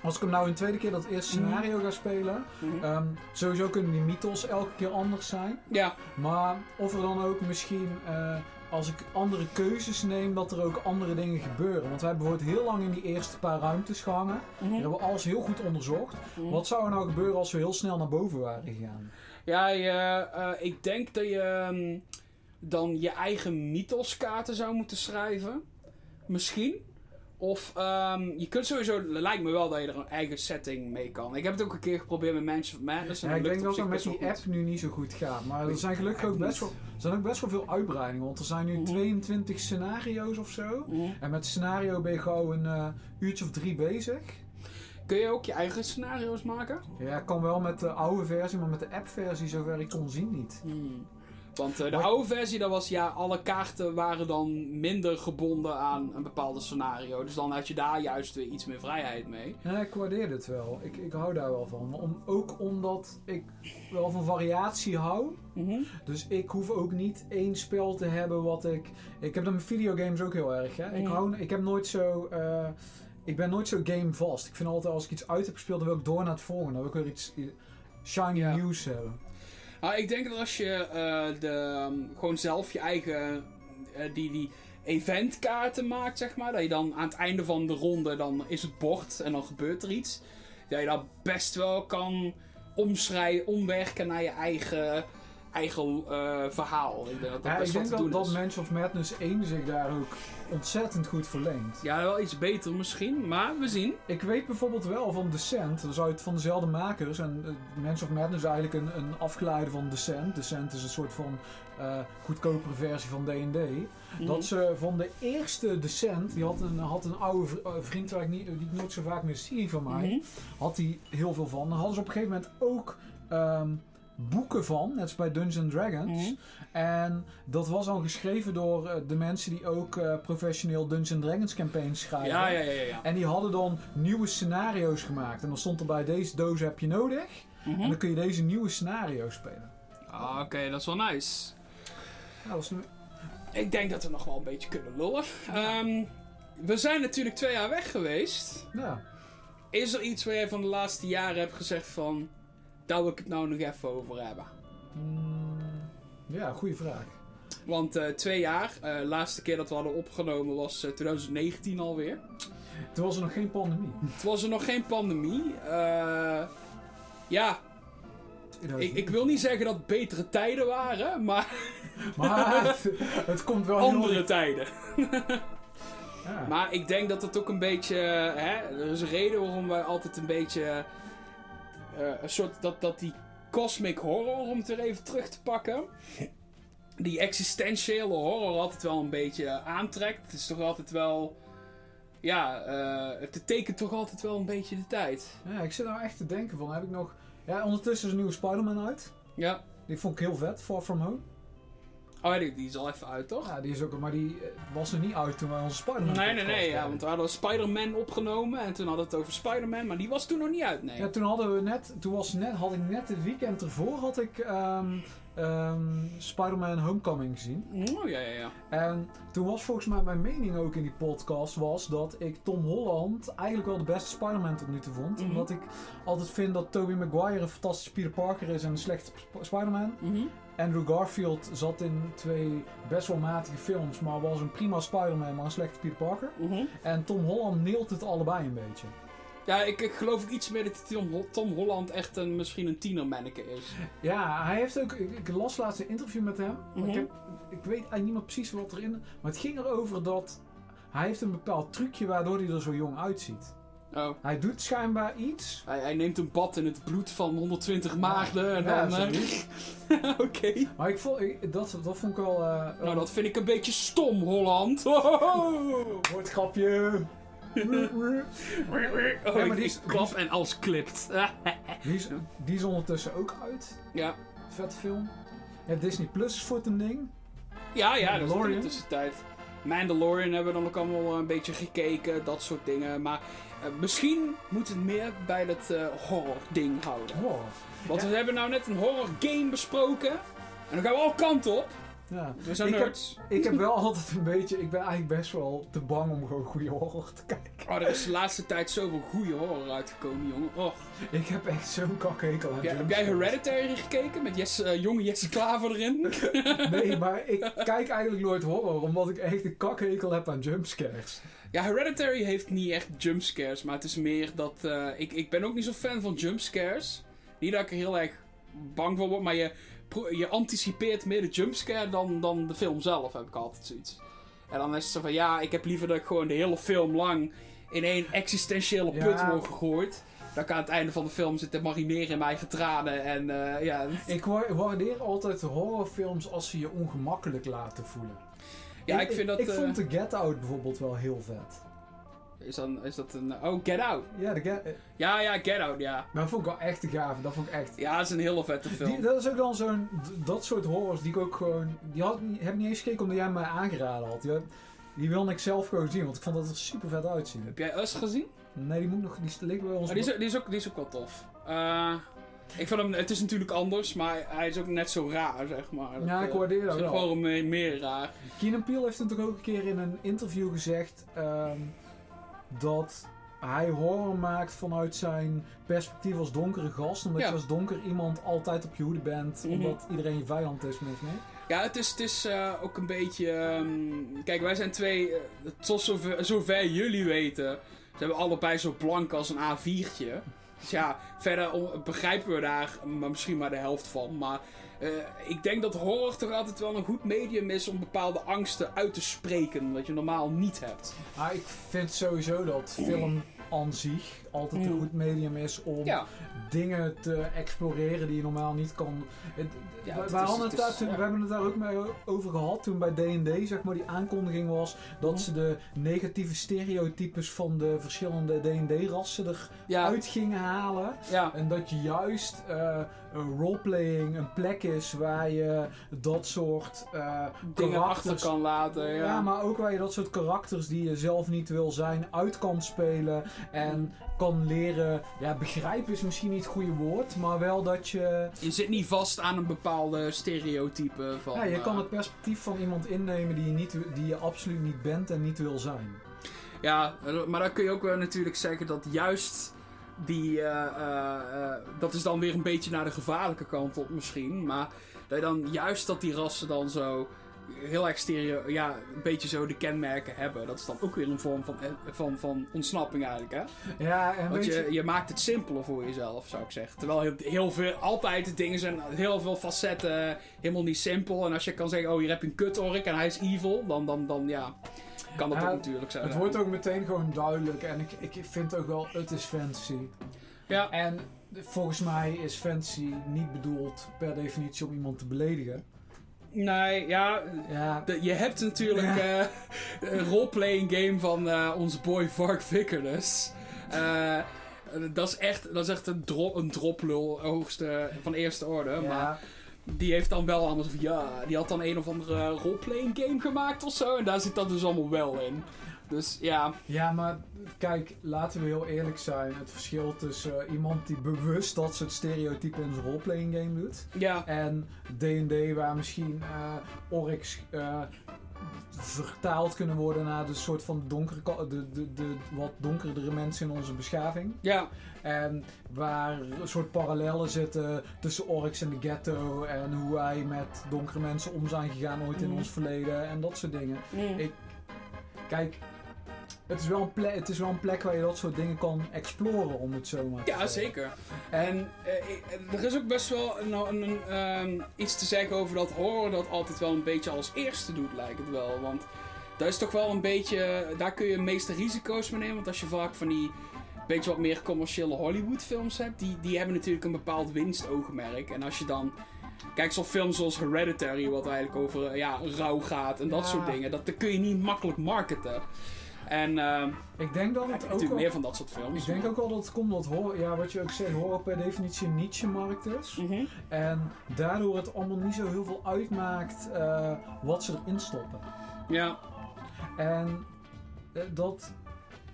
S2: als ik hem nou een tweede keer dat eerste
S1: Mhm.
S2: scenario ga spelen, ehm, sowieso kunnen die mythos elke keer anders zijn.
S1: Ja,
S2: Maar of er dan ook misschien, eh, als ik andere keuzes neem, dat er ook andere dingen gebeuren. Want wij hebben bijvoorbeeld heel lang in die eerste paar ruimtes gehangen.
S1: mhm.
S2: Daar hebben we alles heel goed onderzocht. Wat zou er nou gebeuren als we heel snel naar boven waren gegaan?
S1: Ja, je, eh, ik denk dat je ehm, dan je eigen mythoskaarten zou moeten schrijven. Misschien. Of ehm, je kunt sowieso, lijkt me wel dat je er een eigen setting mee kan. Ik heb het ook een keer geprobeerd met Mansion of Madness. En
S2: Ja, ik
S1: lukt
S2: denk
S1: op
S2: dat
S1: zich
S2: dat met
S1: best wel
S2: die
S1: goed.
S2: app nu niet zo goed gaat. Maar er
S1: Weet-
S2: zijn gelukkig ook
S1: app
S2: best
S1: niet.
S2: wel, er zijn ook best wel veel uitbreidingen. Want er zijn nu
S1: Mhm.
S2: 22 scenario's of zo.
S1: Mhm.
S2: En met scenario ben je gauw een eh, uurtje of drie bezig.
S1: Kun je ook je eigen scenario's maken?
S2: Ja, kan wel met de oude versie, maar met de app-versie, zover ik kon zien, niet.
S1: Want eh, de
S2: Hmm. Maar-
S1: oude versie, dat was ja, alle kaarten waren dan minder gebonden aan een bepaalde scenario. Dus dan had je daar juist weer iets meer vrijheid mee.
S2: Ja, ik waardeer het wel. Ik, ik hou daar wel van. Maar Om, ook omdat ik wel van variatie hou. Dus ik hoef ook niet één spel te hebben wat ik. Ik heb dat met videogames ook heel erg. Hè? Ik,
S1: Mhm.
S2: hou, ik heb nooit zo. eh, ik ben nooit zo gamevast. Ik vind altijd als ik iets uit heb gespeeld, dan wil ik door naar het volgende. Dan wil ik weer iets eh, shiny
S1: Ja.
S2: nieuws hebben.
S1: Nou, ik denk dat als je eh, de, ehm, gewoon zelf je eigen eh, die, die eventkaarten maakt, zeg maar. Dat je dan aan het einde van de ronde, dan is het bord en dan gebeurt er iets. Dat je dat best wel kan omschrijven, omwerken naar je eigen, eigen eh, verhaal. Ik denk dat dat
S2: Ja, ik
S1: best wel
S2: denk
S1: te
S2: dat,
S1: doen
S2: dat
S1: is.
S2: Mansion of Madness 1 zich daar ook ontzettend goed verleent.
S1: Ja, wel iets beter misschien, maar we zien.
S2: Ik weet bijvoorbeeld wel van Descent, dat is uit van dezelfde makers. En eh, Mansion of Madness is eigenlijk een, een afgeleide van Descent. Descent is een soort van eh, goedkopere versie van D&D.
S1: Mhm.
S2: Dat ze van de eerste Descent, die had een, had een oude vri- eh, vriend waar ik niet, die ik nooit zo vaak meer zie van mij,
S1: Mhm.
S2: had hij heel veel van. Dan hadden ze op een gegeven moment ook ehm, boeken van, net als bij Dungeons Dragons.
S1: Mhm.
S2: En dat was dan geschreven door eh, de mensen die ook eh, professioneel Dungeons Dragons campagnes schrijven.
S1: Ja, ja, ja, ja. ja.
S2: En die hadden dan nieuwe scenario's gemaakt. En dan stond er bij deze doos heb je nodig. En
S1: Mhm.
S2: dan kun je deze nieuwe scenario spelen.
S1: Ah, Oké, dat is wel nice.
S2: Ja, dat is nu...
S1: Ik denk dat we nog wel een beetje kunnen lullen. Ehm, we zijn natuurlijk twee jaar weg geweest.
S2: ja.
S1: Is er iets waar jij van de laatste jaren hebt gezegd van... Daar wil ik het nou nog even over hebben.
S2: Mm, ja, goede vraag.
S1: Want eh, twee jaar, eh, de laatste keer dat we hadden opgenomen was eh, 2019 alweer.
S2: Toen was er nog geen pandemie.
S1: Toen was er nog geen pandemie. Eh, ja, ik, ik wil niet zeggen dat het betere tijden waren, maar
S2: Maar het, het komt wel heel
S1: andere tijden.
S2: Ja.
S1: Maar ik denk dat het ook een beetje. Hè, er is een reden waarom wij altijd een beetje. eh, een soort. Dat, dat die cosmic horror, om het weer even terug te pakken. Die existentiële horror altijd wel een beetje aantrekt. Het is toch altijd wel. Ja, eh, het tekent toch altijd wel een beetje de tijd.
S2: Ja, ik zit nou echt te denken van, heb ik nog... Ja, ondertussen is een nieuwe Spider-Man uit.
S1: Ja.
S2: Die vond ik heel vet, Far From Home.
S1: Oh, die, die is al even uit, toch?
S2: Ja, die is ook... Maar die eh, was er niet uit toen wij onze Spider-Man
S1: Nee, nee,
S2: podcast
S1: nee. Ja,
S2: deden.
S1: want we hadden Spider-Man opgenomen. En toen hadden we het over Spider-Man. Maar die was toen nog niet uit, nee.
S2: Ja, toen hadden we net, toen was net, had ik net het weekend ervoor had ik ehm, ehm, Spider-Man Homecoming gezien.
S1: Oh, ja, ja, ja.
S2: En toen was volgens mij mijn mening ook in die podcast was dat ik Tom Holland eigenlijk wel de beste Spider-Man tot nu toe vond.
S1: Mhm.
S2: Omdat ik altijd vind dat Tobey Maguire een fantastische Peter Parker is en een slechte Sp- Spider-Man.
S1: Mhm.
S2: Andrew Garfield zat in twee best wel matige films, maar was een prima Spider-Man, maar een slechte Peter Parker.
S1: Mhm.
S2: En Tom Holland neelt het allebei een beetje.
S1: Ja, ik, ik geloof ook iets meer dat die Tom, Ho- Tom Holland echt een, misschien een tienermanneke is.
S2: Ja, hij heeft ook. Ik, ik las laatst een interview met hem. Maar
S1: Mhm.
S2: Ik, heb, ik weet eigenlijk niet meer precies wat erin. Maar het ging erover dat. Hij heeft een bepaald trucje waardoor hij er zo jong uitziet.
S1: Oh.
S2: Hij doet schijnbaar iets.
S1: Hij, hij neemt een bad in het bloed van 120 maagden en
S2: Ja,
S1: dan... eh,
S2: zoiets.
S1: Oké.
S2: Maar ik vond, ik- dat, dat vond ik wel. eh
S1: Nou, dat vind ik een beetje stom, Holland.
S2: Nou.
S1: Oh,
S2: Woordgrapje. maar
S1: ik-
S2: die
S1: ik
S2: is-
S1: klap en als klipt. Ah.
S2: die, is, die is ondertussen ook uit.
S1: ja.
S2: Vet film. Ja, Disney Plus is voor een ding.
S1: Ja, ja, dat is in de
S2: Mandalorian.
S1: tussentijd. Mandalorian hebben we dan ook allemaal eh, een beetje gekeken, dat soort dingen. Maar eh, misschien moet het meer bij dat eh, horror-ding houden.
S2: Wow.
S1: Want
S2: Ja.
S1: we hebben nou net een horror-game besproken. En dan gaan we al kanten op.
S2: Ja.
S1: We zijn
S2: Ik heb-
S1: nerds.
S2: Ik heb wel altijd een beetje. Ik ben eigenlijk best wel te bang om gewoon goede horror te kijken.
S1: Oh, er is de laatste tijd zoveel goede horror uitgekomen, jongen. Oh.
S2: Ik heb echt zo'n kakhekel aan
S1: Ja, heb jij
S2: jumpscares.
S1: Hereditary gekeken met Jesse, eh, jonge Jesse Klaver erin?
S2: Nee, maar ik kijk eigenlijk nooit horror, omdat ik echt een kakhekel heb aan jumpscares.
S1: Ja, Hereditary heeft niet echt jumpscares, maar het is meer dat... eh, ik, ik ben ook niet zo'n fan van jumpscares. Niet dat ik er heel erg bang voor word, maar je, pro- je anticipeert meer de jumpscare dan, dan de film zelf, heb ik altijd zoiets. En dan is het zo van, ja, ik heb liever dat ik gewoon de hele film lang in één existentiële put
S2: Ja.
S1: word gegooid. Dat ik aan het einde van de film zit te marineren in mijn eigen tranen en eh, ja...
S2: Ik wa- waardeer altijd horrorfilms als ze je ongemakkelijk laten voelen.
S1: Ja, ik vind dat...
S2: Ik
S1: eh,
S2: vond The Get Out bijvoorbeeld wel heel vet.
S1: is, dan, is dat een... Oh, Get Out.
S2: Ja, The Get... eh,
S1: Ja, ja, Get Out, ja.
S2: Maar dat vond ik wel echt gaaf. Dat vond ik echt...
S1: Ja, dat is een hele vette film.
S2: Die, dat is ook dan zo'n... d- Dat soort horrors die ik ook gewoon... Die had, ik niet- heb ik niet eens gekeken omdat jij mij aangeraden had. Die, had- die wilde ik zelf gewoon zien, want ik vond dat er super vet uitzien.
S1: Heb jij Us gezien?
S2: Nee, die moet nog... Die ligt bij ons...
S1: Maar Oh, die, is, ook- die, is ook, die is ook wel tof. Eh, ik vind hem, het is natuurlijk anders, maar hij is ook net zo raar, zeg maar.
S2: Ja,
S1: eh,
S2: ik waardeer dat
S1: is
S2: wel.
S1: gewoon meer, meer raar.
S2: Keenan Peele heeft natuurlijk ook een keer in een interview gezegd ehm, dat hij horror maakt vanuit zijn perspectief als donkere gast. Omdat
S1: Ja.
S2: je als donker iemand altijd op je hoede bent,
S1: Mhm.
S2: omdat iedereen je vijand is, min of meer.
S1: Ja, het is, het is eh, ook een beetje... ehm, kijk, wij zijn twee... eh, tot zover, zover jullie weten... zijn we allebei zo blank als een A4'tje. Dus ja, verder om- begrijpen we daar maar misschien maar de helft van. Maar eh, ik denk dat horror toch altijd wel een goed medium is... om bepaalde angsten uit te spreken. Wat je normaal niet hebt.
S2: Maar Ah, ik vind sowieso dat film aan zich altijd een
S1: Mhm.
S2: goed medium is om
S1: Ja.
S2: dingen te exploreren die je normaal niet kan. Het-
S1: Ja,
S2: we,
S1: het
S2: we
S1: is-
S2: hadden
S1: het
S2: het
S1: is-
S2: daar toen-
S1: ja.
S2: we hebben het daar ook mee over gehad toen bij D&D zeg maar die aankondiging was dat
S1: Mhm.
S2: ze de negatieve stereotypes van de verschillende D&D rassen eruit
S1: Ja,
S2: gingen halen
S1: ja.
S2: en dat je juist eh, een roleplaying een plek is waar je dat soort eh,
S1: dingen achter
S2: karakters
S1: kan laten. Ja,
S2: ja, maar ook waar je dat soort karakters die je zelf niet wil zijn uit kan spelen. En kan leren. Ja, begrijpen is misschien niet het goede woord, maar wel dat je.
S1: Je zit niet vast aan een bepaalde stereotype van...
S2: Ja, je
S1: eh,
S2: kan het perspectief van iemand innemen die je, niet, die je absoluut niet bent en niet wil zijn.
S1: Ja, eh, maar dan kun je ook wel natuurlijk zeggen dat juist die... eh, eh, eh, dat is dan weer een beetje naar de gevaarlijke kant op misschien. Maar dat je dan juist dat die rassen dan zo heel erg stereo... Ja, een beetje zo de kenmerken hebben. Dat is dan ook weer een vorm van, eh, van, van ontsnapping eigenlijk, hè?
S2: Ja, en
S1: Want
S2: weet
S1: je, je maakt het simpeler voor jezelf, zou ik zeggen. Terwijl heel, heel veel, altijd de dingen zijn, heel veel facetten, helemaal niet simpel. En als je kan zeggen, oh hier heb je een kutork en hij is evil, dan, dan, dan ja, kan dat
S2: Ja,
S1: ook natuurlijk zijn.
S2: Het wordt ook meteen gewoon duidelijk. En ik, ik vind ook wel, het is fantasy.
S1: Ja.
S2: En volgens mij is fantasy niet bedoeld per definitie om iemand te beledigen.
S1: Nee, ja,
S2: Ja,
S1: de- je hebt natuurlijk eh, een roleplaying game van eh, onze boy Vark Vickernus. Eh, dat is echt, dat is echt een, dro een droplul hoogste, van eerste orde. Maar
S2: ja.
S1: Die heeft dan wel allemaal zo van, ja, die had dan een of andere roleplaying game gemaakt of zo. En daar zit dat dus allemaal wel in. Dus ja,
S2: Ja, maar kijk, laten we heel eerlijk zijn. Het verschil tussen eh, iemand die bewust dat soort stereotypen in zijn roleplaying game doet.
S1: ja,
S2: En D&D waar misschien eh orks eh, vertaald kunnen worden naar de soort van donkere, ka- de, de, de wat donkerdere mensen in onze beschaving.
S1: ja,
S2: En waar een soort parallellen zitten tussen orks en de ghetto. En hoe wij met donkere mensen om zijn gegaan ooit in
S1: Mhm.
S2: ons verleden en dat soort dingen.
S1: mm,
S2: Ik- Kijk, Het is, wel een plek, het is wel een plek waar je dat soort dingen kan exploren, om het zo maar te
S1: Ja,
S2: zeggen.
S1: zeker. En eh, ik- er is ook best wel een, een, een, ehm, iets te zeggen over dat horror dat altijd wel een beetje als eerste doet, lijkt het wel. Want daar is toch wel een beetje, daar kun je de meeste risico's mee nemen. Want als je vaak van die beetje wat meer commerciële Hollywood films hebt, die, die hebben natuurlijk een bepaald winstoogmerk. En als je dan kijkt zo'n films zoals Hereditary, wat eigenlijk over eh, ja, rouw gaat en dat
S2: Ja.
S1: soort dingen, dat, dat kun je niet makkelijk marketen. En ehm
S2: Ik denk dat
S1: ik heb
S2: het ook
S1: natuurlijk
S2: wel-
S1: meer van dat soort films.
S2: Ik denk ook wel dat het komt dat horror, ja, wat je ook zegt, horror per definitie een niche-markt is.
S1: Mhm.
S2: En daardoor het allemaal niet zo heel veel uitmaakt eh, wat ze erin stoppen.
S1: Ja,
S2: En eh, dat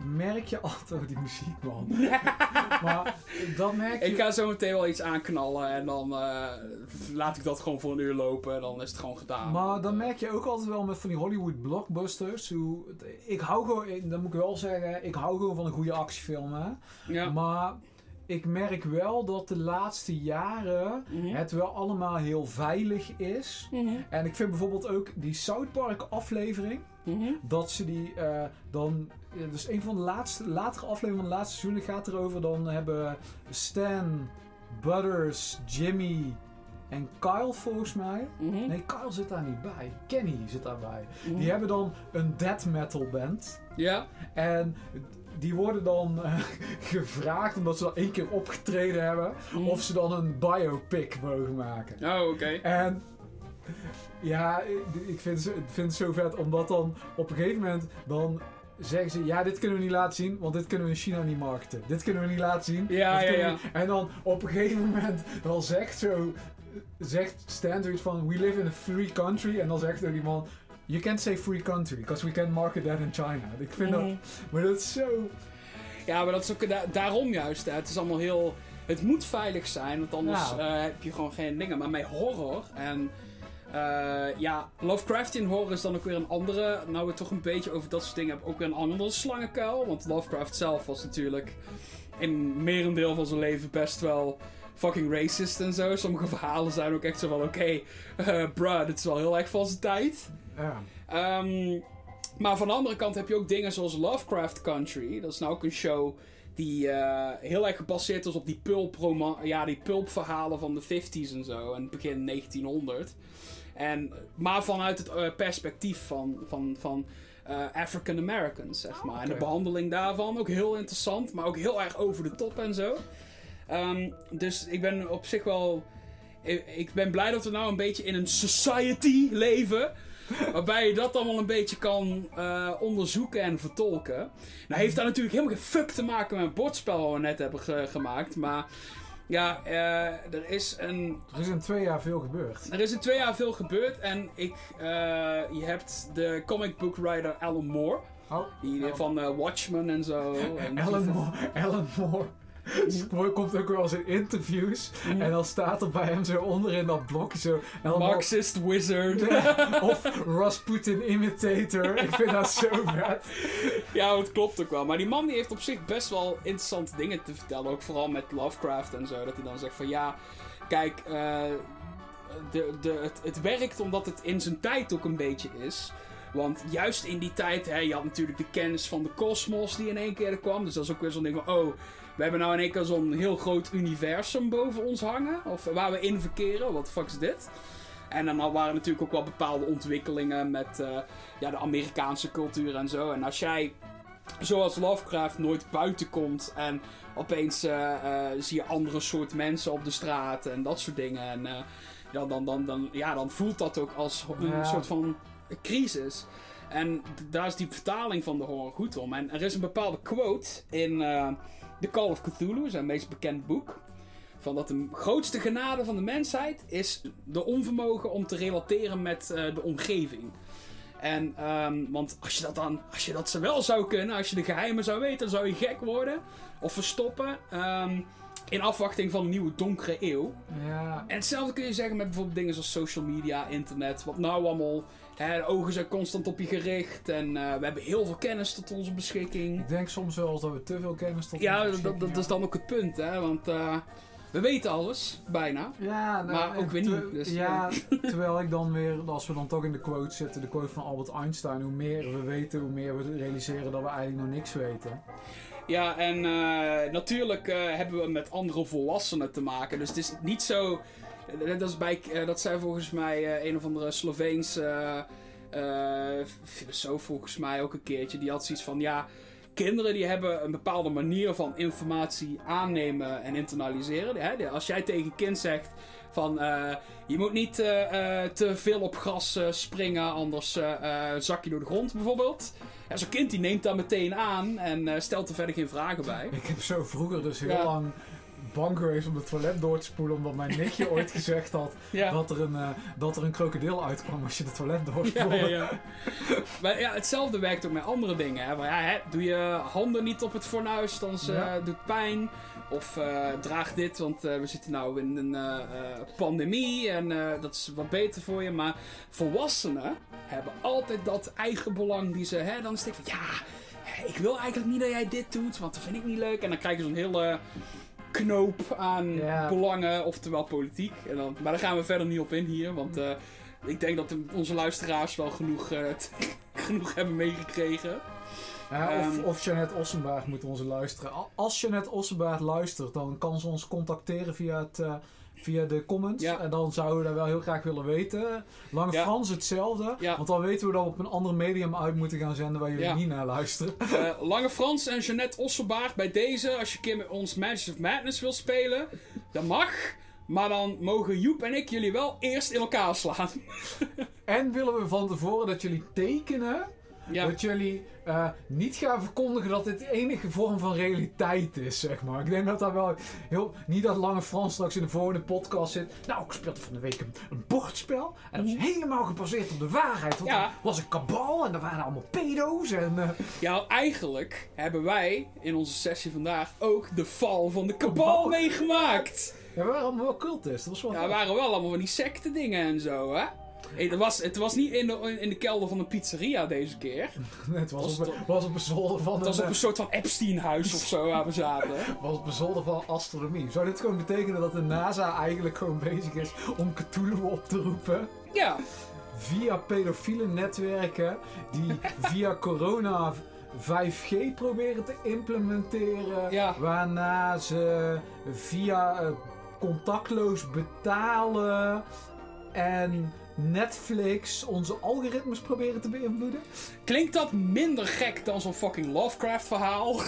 S2: merk je altijd, oh, die muziek man. maar dat merk je.
S1: Ik ga zo meteen wel iets aanknallen en dan eh, laat ik dat gewoon voor een uur lopen en dan is het gewoon gedaan.
S2: Maar dan merk je ook altijd wel met van die Hollywood blockbusters. Hoe, ik hou gewoon, dat moet ik wel zeggen, ik hou gewoon van een goede actiefilm. Hè?
S1: Ja.
S2: Maar ik merk wel dat de laatste jaren
S1: Mhm.
S2: het wel allemaal heel veilig is.
S1: Mhm.
S2: En ik vind bijvoorbeeld ook die South Park aflevering.
S1: Mhm.
S2: Dat ze die eh, dan. eh, Dus een van de laatste, latere afleveringen van de laatste seizoenen gaat erover. Dan hebben Stan, Butters, Jimmy en Kyle volgens mij.
S1: Mhm.
S2: Nee, Kyle zit daar niet bij. Kenny zit daarbij.
S1: Mhm.
S2: Die hebben dan een death metal band.
S1: Ja.
S2: En die worden dan eh, gevraagd, omdat ze al één keer opgetreden hebben,
S1: Mhm.
S2: of ze dan een biopic mogen maken.
S1: Oh, oké.
S2: En ja, ik ik vind, ze- ik vind het zo vet, omdat dan op een gegeven moment dan zeggen ze... Ja, dit kunnen we niet laten zien, want dit kunnen we in China niet marketen. Dit kunnen we niet laten zien.
S1: Ja,
S2: dit
S1: ja,
S2: kunnen we
S1: ja.
S2: niet- En dan op een gegeven moment dan zegt zo... Zegt Stan zoiets van, we live in a free country. En dan zegt er die man, you can't say free country, because we can't market that in China. Ik vind
S1: Mhm.
S2: dat... Maar dat is zo...
S1: Ja, maar dat is ook da- daarom juist. Hè. Het is allemaal heel. Het moet veilig zijn, want anders
S2: Ja.
S1: eh, heb je gewoon geen dingen. Maar met horror en. eh, ja, Lovecraftian horror is dan ook weer een andere. Nou, we het toch een beetje over dat soort dingen hebben. Ook weer een andere slangenkuil. Want Lovecraft zelf was natuurlijk. in merendeel van zijn leven best wel. fucking racist en zo. Sommige verhalen zijn ook echt zo van: oké, eh bruh, dit is wel heel erg van zijn tijd.
S2: Ja.
S1: Ehm, maar van de andere kant heb je ook dingen zoals Lovecraft Country. Dat is nou ook een show die eh, heel erg gebaseerd is op die pulp, ja, die pulpverhalen van de 50s en zo. En begin 1900. En, maar vanuit het eh, perspectief van, van, van eh, African Americans, zeg maar. En de
S2: oké.
S1: behandeling daarvan ook heel interessant, maar ook heel erg over de top en zo. Ehm, dus ik ben op zich wel. Ik ik ben blij dat we nou een beetje in een society leven. Waarbij je dat allemaal een beetje kan eh, onderzoeken en vertolken. Nou heeft daar natuurlijk helemaal geen fuck te maken met het bordspel wat we net hebben ge- gemaakt. Maar ja, eh, er is een
S2: Er is in twee jaar veel gebeurd.
S1: er is in twee jaar veel gebeurd en ik, eh, je hebt de comic book writer Alan Moore.
S2: Oh,
S1: Die van eh, Watchmen en zo. En
S2: Alan Moore. Alan Moore. Moore komt ook wel eens in interviews. En dan staat er bij hem zo onderin dat blokje zo. Alan Moore-
S1: Marxist wizard.
S2: of Rasputin Imitator. Ik vind dat zo vet.
S1: ja, het klopt ook wel. Maar die man die heeft op zich best wel interessante dingen te vertellen. Ook vooral met Lovecraft en zo. Dat hij dan zegt van ja, kijk, eh, de, de, het, het werkt omdat het in zijn tijd ook een beetje is. Want juist in die tijd, hè, je had natuurlijk de kennis van de kosmos die in één keer er kwam. Dus dat is ook weer zo'n ding van, oh, we hebben nou in één keer zo'n heel groot universum boven ons hangen. Of waar we in verkeren, wat fuck is dit? En dan waren natuurlijk ook wel bepaalde ontwikkelingen met eh, ja, de Amerikaanse cultuur en zo. En als jij, zoals Lovecraft, nooit buiten komt en opeens eh, eh, zie je andere soort mensen op de straat en dat soort dingen. En eh, ja, dan, dan, dan, ja, dan voelt dat ook als een
S2: Ja.
S1: soort van crisis. En d- daar is die vertaling van de horror goed om. En er is een bepaalde quote in eh, The Call of Cthulhu, zijn meest bekend boek. Van dat de grootste genade van de mensheid is de onvermogen om te relateren met eh, de omgeving. En, ehm, want als je dat dan, als je dat ze wel zou kunnen, als je de geheimen zou weten, dan zou je gek worden of verstoppen. ehm, in afwachting van een nieuwe donkere eeuw.
S2: Ja.
S1: En hetzelfde kun je zeggen met bijvoorbeeld dingen zoals social media, internet, wat nou allemaal. Hè, de ogen zijn constant op je gericht en eh, we hebben heel veel kennis tot onze beschikking.
S2: Ik denk soms wel eens dat we te veel kennis tot
S1: Ja,
S2: onze
S1: dat, dat, dat is dan ook het punt, hè? Want eh, We weten alles, bijna.
S2: Ja, nou,
S1: Maar ook
S2: en
S1: weer niet,
S2: ter-
S1: dus,
S2: ja, terwijl ik dan weer, als we dan toch in de quote zitten, de quote van Albert Einstein: hoe meer we weten, hoe meer we realiseren dat we eigenlijk nog niks weten.
S1: Ja, en eh, natuurlijk eh, hebben we met andere volwassenen te maken. Dus het is niet zo. Net als bij. eh, dat zei volgens mij eh, een of andere Sloveense eh, eh, filosoof, volgens mij ook een keertje. Die had zoiets van: ja, kinderen die hebben een bepaalde manier van informatie aannemen en internaliseren. Hè? De- Als jij tegen een kind zegt. Van eh, je moet niet eh, eh, te veel op gras eh, springen, anders eh, eh, zak je door de grond bijvoorbeeld. Ja, zo'n kind die neemt dat meteen aan en eh, stelt er verder geen vragen bij.
S2: Ik heb zo vroeger dus heel
S1: Ja.
S2: lang bang geweest om het toilet door te spoelen, omdat mijn nichtje ooit gezegd had
S1: Ja.
S2: dat, er een, eh, dat er een krokodil uitkwam als je het toilet
S1: Ja,
S2: doorspoelde.
S1: ja, ja. Maar ja, hetzelfde werkt ook met andere dingen. Hè. Maar ja, hè, doe je handen niet op het fornuis, dan ze,
S2: Ja.
S1: eh, doet pijn. Of eh, draag dit, want eh, we zitten nou in een eh, eh, pandemie en eh, dat is wat beter voor je. Maar volwassenen hebben altijd dat eigen belang die ze... Hè, dan is het van, ja, hè, ik wil eigenlijk niet dat jij dit doet, want dat vind ik niet leuk. En dan krijgen ze een hele knoop aan
S2: Ja.
S1: belangen, oftewel politiek. En dan, maar daar gaan we verder niet op in hier, want... eh, ik denk dat de- onze luisteraars wel genoeg, eh, genoeg hebben meegekregen.
S2: Ja, of,
S1: Ehm.
S2: of Jeanette Ossenbaard moet onze luisteren. Al- Als Jeanette Ossenbaard luistert, dan kan ze ons contacteren via, het, eh, via de comments.
S1: Ja.
S2: En dan zouden we dat wel heel graag willen weten. Lange
S1: Ja.
S2: Frans hetzelfde.
S1: Ja.
S2: Want dan weten we dat we op een ander medium uit moeten gaan zenden waar jullie
S1: Ja.
S2: niet naar luisteren.
S1: Eh, Lange Frans en Jeannette Osselbaard bij deze. Als je een keer met ons Matches of Madness wil spelen, dat mag. Maar dan mogen Joep en ik jullie wel eerst in elkaar slaan.
S2: En willen we van tevoren dat jullie tekenen.
S1: Ja,
S2: Dat jullie eh, niet gaan verkondigen dat dit de enige vorm van realiteit is, zeg maar. Ik denk dat daar wel heel... Niet dat Lange Frans straks in de volgende podcast zit. Nou, ik speelde van de week een, een bordspel. En dat was helemaal gebaseerd op de waarheid. Want
S1: Mhm. Ja.
S2: er was een kabal en er waren allemaal pedo's en... eh,
S1: ja, eigenlijk hebben wij in onze sessie vandaag ook de val van de kabal
S2: Kabal.
S1: meegemaakt.
S2: ja, we waren allemaal wel cultist. Dat was wel...
S1: Ja, er waren wel allemaal van die secte dingen en zo, hè? Eh, Het was, het was niet in de, in de kelder van een pizzeria deze keer.
S2: het was
S1: was
S2: op, was op een zolder van...
S1: Het was
S2: een,
S1: op een soort van Epstein-huis of zo waar we zaten.
S2: eh, was op een zolder van astronomie. Zou dit gewoon betekenen dat de NASA eigenlijk gewoon bezig is om Cthulhu op te roepen?
S1: Ja,
S2: via pedofiele netwerken die via corona 5G proberen te implementeren.
S1: Ja.
S2: Waarna ze via eh, contactloos betalen en Netflix onze algoritmes proberen te beïnvloeden.
S1: klinkt dat minder gek dan zo'n fucking Lovecraft-verhaal?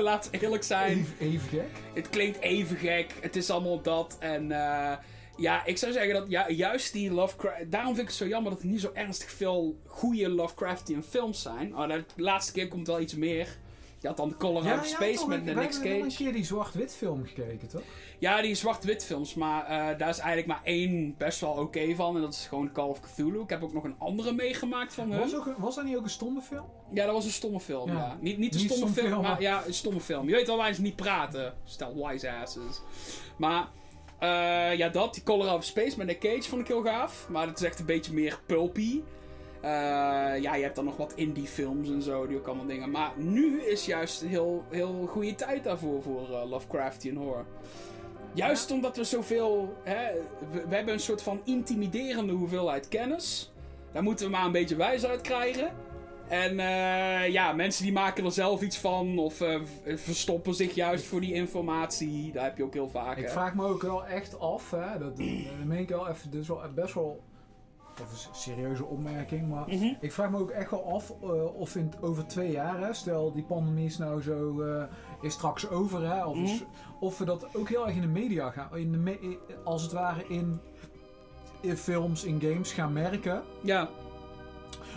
S1: Laat eerlijk zijn.
S2: Even, even gek.
S1: Het klinkt even gek. Het is allemaal dat. En eh, ja, ik zou zeggen dat ja, juist die Lovecraft. Daarom vind ik het zo jammer dat er niet zo ernstig veel goede Lovecraftian films zijn. Oh, nou, de laatste keer komt wel iets meer. Je had dan The Color Out of Space
S2: toch,
S1: met
S2: wij
S1: met Nick
S2: hebben wel een
S1: Cage.
S2: keer die zwart-wit film gekeken, toch?
S1: Ja, die zwart-wit films, maar eh, daar is eigenlijk maar één best wel oké van. En dat is gewoon Call of Cthulhu. Ik heb ook nog een andere meegemaakt van hun.
S2: Was, ook, een- was dat niet ook een stomme film?
S1: Ja, dat was een stomme film. Ja.
S2: Ja.
S1: Niet, niet een
S2: Niet
S1: stomme
S2: stom
S1: film,
S2: film,
S1: maar
S2: maar-
S1: ja, een stomme film. Je weet wel waar ze niet praten. Stel wise asses. Maar eh, ja, dat, die Color Out of Space met Nick Cage vond ik heel gaaf. Maar dat is echt een beetje meer pulpy. Eh, ja, je hebt dan nog wat indie films en zo, die ook allemaal dingen. Maar nu is juist een heel, heel goede tijd daarvoor voor eh, Lovecraftian horror. Juist omdat we zoveel. Hè, we, we hebben een soort van intimiderende hoeveelheid kennis. Daar moeten we maar een beetje wijs uit krijgen. En eh, ja, mensen die maken er zelf iets van of eh, v- verstoppen zich juist voor die informatie. Daar heb je ook heel vaak.
S2: Ik
S1: hè.
S2: vraag me ook wel echt af, hè, dat, dat meen ik wel even, dit is wel best wel even een serieuze opmerking, maar
S1: Mhm.
S2: ik vraag me ook echt wel af eh, of in, t- over twee jaar, hè, stel die pandemie is nou zo, eh, is straks over, hè, of,
S1: Mhm.
S2: is- of we dat ook heel erg in de media gaan, in de me- in- als het ware in, in films, in games gaan merken.
S1: Ja,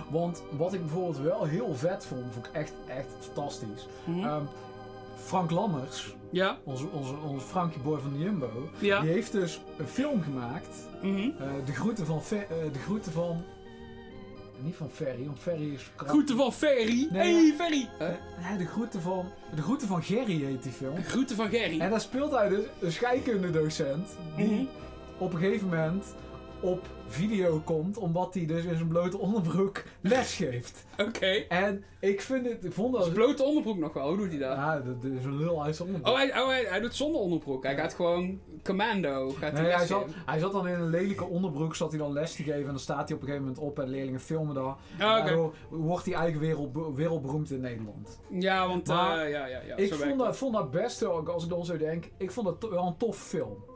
S2: Want wat ik bijvoorbeeld wel heel vet vond, vond ik echt, echt fantastisch.
S1: Mhm.
S2: Ehm, Frank Lammers,
S1: ja,
S2: onze, onze, onze Frankie boy van de Jumbo,
S1: ja.
S2: die heeft dus een film gemaakt.
S1: Mhm.
S2: eh, de groeten van. Fer- eh, de groeten van. Niet van Ferry, want Ferry is. krap.
S1: Groeten van Ferry.
S2: Nee,
S1: hey,
S2: ja.
S1: Ferry.
S2: Eh, nee, de groeten van. De groeten van Gerry heet die film.
S1: Groeten van Gerry.
S2: En daar speelt hij dus een scheikundedocent. Die
S1: Mhm.
S2: op een gegeven moment op video komt, omdat hij dus in zijn blote onderbroek lesgeeft.
S1: Oké.
S2: En ik vind het, ik vond dat...
S1: Dus blote onderbroek nog wel, hoe doet hij dat?
S2: Ja, dat is een lul uit zijn onderbroek.
S1: Oh, hij, oh hij, hij doet zonder onderbroek. Hij gaat gewoon commando. Gaat
S2: Nee, hij,
S1: les
S2: zat,
S1: geven.
S2: hij zat dan in een lelijke onderbroek, zat hij dan les te geven. En dan staat hij op een gegeven moment op en leerlingen filmen daar.
S1: Ah, oké.
S2: Daardoor wordt hij eigenlijk wereld, wereldberoemd in Nederland.
S1: Ja, want... eh,
S2: Maar
S1: ja, ja, ja.
S2: ik
S1: zo werkt
S2: vond
S1: het.
S2: dat, vond dat best wel, als ik dan zo denk, ik vond dat to- wel een tof film.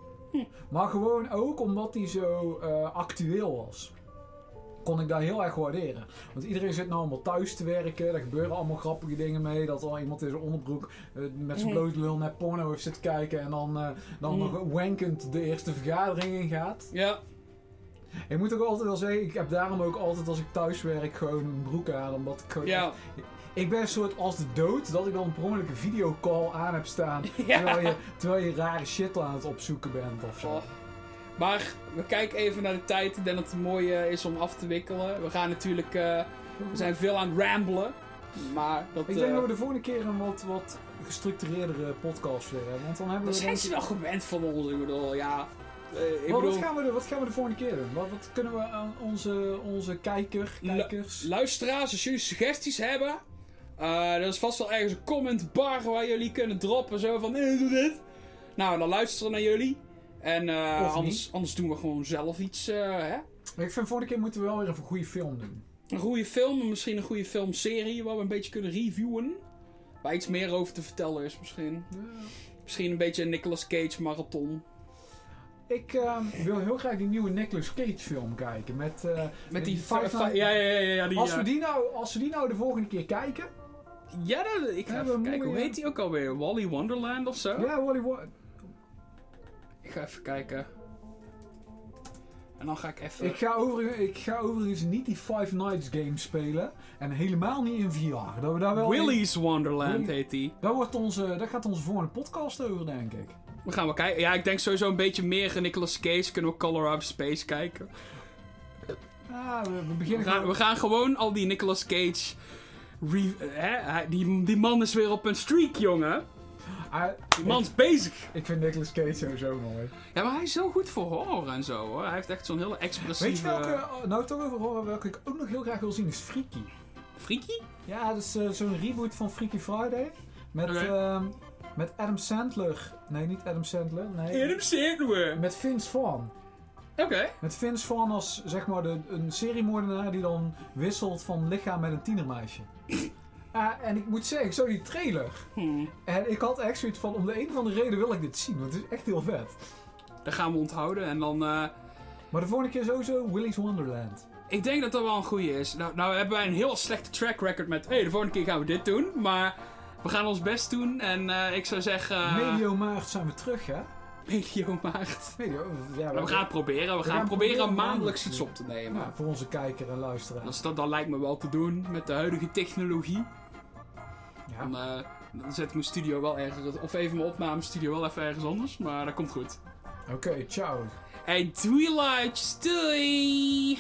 S2: Maar gewoon ook omdat hij zo eh, actueel was. Kon ik daar heel erg waarderen. Want iedereen zit nou allemaal thuis te werken. Daar gebeuren allemaal grappige dingen mee. Dat al iemand in zijn onderbroek eh, met zijn
S1: Mhm.
S2: blote lul naar porno heeft zitten kijken. En dan, eh, dan
S1: Mhm.
S2: nog wankend de eerste vergadering ingaat.
S1: Ja,
S2: Ik moet ook altijd wel zeggen, ik heb daarom ook altijd als ik thuis werk gewoon een broek aan. Omdat ik gewoon
S1: ja.
S2: ik ben een soort als de dood dat ik dan een per ongeluk een videocall aan heb staan. Terwijl, je, terwijl je rare shit aan het opzoeken bent of zo.
S1: Oh. Maar we kijken even naar de tijd. Ik denk dat het mooi eh, is om af te wikkelen. We gaan natuurlijk... eh, we zijn veel aan het ramblen. Maar dat...
S2: Ik denk
S1: eh,
S2: dat we de volgende keer een wat, wat gestructureerdere podcast weer hebben. Want dan hebben
S1: dat
S2: we.
S1: zijn
S2: denk
S1: ze
S2: ik-
S1: wel gewend van ons. Ik bedoel, ja... Eh, ik
S2: Wat,
S1: bedoel,
S2: wat, gaan we de, wat gaan we de volgende keer doen? Wat, wat kunnen we aan onze, onze kijker,
S1: Lu-
S2: kijkers.
S1: luisteraars, als jullie suggesties hebben... eh, er is vast wel ergens een comment bar waar jullie kunnen droppen. Zo van, eh, doe dit. Nou, dan luisteren we naar jullie. En eh,
S2: Of niet.
S1: anders, anders doen we gewoon zelf iets, eh, hè?
S2: ik vind volgende keer moeten we wel weer een goede film doen.
S1: Een goede film, misschien een goede filmserie waar we een beetje kunnen reviewen. Waar iets meer over te vertellen is misschien. Misschien een beetje een Nicolas Cage marathon.
S2: Ik ehm, wil heel graag die nieuwe Nicolas Cage film kijken. Met, eh,
S1: Met die...
S2: Five
S1: fa- fa-
S2: Nights-
S1: ja, ja, ja. ja die,
S2: als, we
S1: eh,
S2: die nou, als we die nou de volgende keer kijken.
S1: Ja, dat, ik ga
S2: Ja,
S1: even
S2: we
S1: kijken. Hoe
S2: moeten-
S1: heet die ook alweer? Wally Wonderland of zo?
S2: Ja, Wally Wa-
S1: Ik ga even kijken. En dan ga ik even...
S2: Ik ga, overigens, ik ga overigens niet die Five Nights game spelen. En helemaal niet in VR. Dat, we daar wel
S1: Willy's Wonderland
S2: Willy-
S1: heet die.
S2: Daar, wordt onze, daar gaat onze volgende podcast over, denk ik.
S1: We gaan wel kijken. Ja, ik denk sowieso een beetje meer Nicolas Cage. Kunnen we Color Out of Space kijken.
S2: Ah, we, we
S1: We
S2: beginnen
S1: gaan, we gaan gewoon al die Nicolas Cage... re- eh, hij- die, die man is weer op een streak, jongen.
S2: Ah,
S1: Die man is bezig.
S2: ik vind Nicolas Cage sowieso mooi.
S1: Ja, maar hij is zo goed voor horror en zo, hoor. Hij heeft echt zo'n hele expressieve...
S2: Weet je welke, nou toch over horen, welke ik ook nog heel graag wil zien is Freaky.
S1: Freaky?
S2: Ja, dat is eh, zo'n reboot van Freaky Friday. Met,
S1: Oké.
S2: ehm, met Adam Sandler. Nee, niet Adam Sandler. Nee.
S1: Adam Sandler.
S2: Met Vince Vaughn.
S1: Oké.
S2: Met Vince Vaughn als zeg maar de, een seriemoordenaar die dan wisselt van lichaam met een tienermeisje. Ah, en ik moet zeggen, ik zag die trailer.
S1: Hmm.
S2: En ik had echt zoiets van, om de een of andere reden wil ik dit zien, want het is echt heel vet.
S1: Dat gaan we onthouden. En dan... eh,
S2: Maar de volgende keer sowieso Willy's Wonderland.
S1: ik denk dat dat wel een goede is. Nou, nou hebben wij een heel slechte track record met... Hé, hey, de volgende keer gaan we dit doen. Maar we gaan ons best doen. En eh, ik zou zeggen... eh,
S2: Medio maart zijn we terug, hè?
S1: medio maart.
S2: Medio, ja,
S1: Maar we gaan het proberen. We gaan, proberen,
S2: gaan proberen
S1: maandelijks
S2: maandelijks
S1: iets op te nemen.
S2: Ja, voor onze kijker en luisteraar.
S1: Als dat, dat lijkt me wel te doen met de huidige technologie.
S2: Ja.
S1: Dan, eh, dan zet ik mijn studio wel ergens... Of even mijn opnamestudio wel even ergens anders. Maar dat komt goed.
S2: Oké, ciao.
S1: Hey, doei, likes. Doei!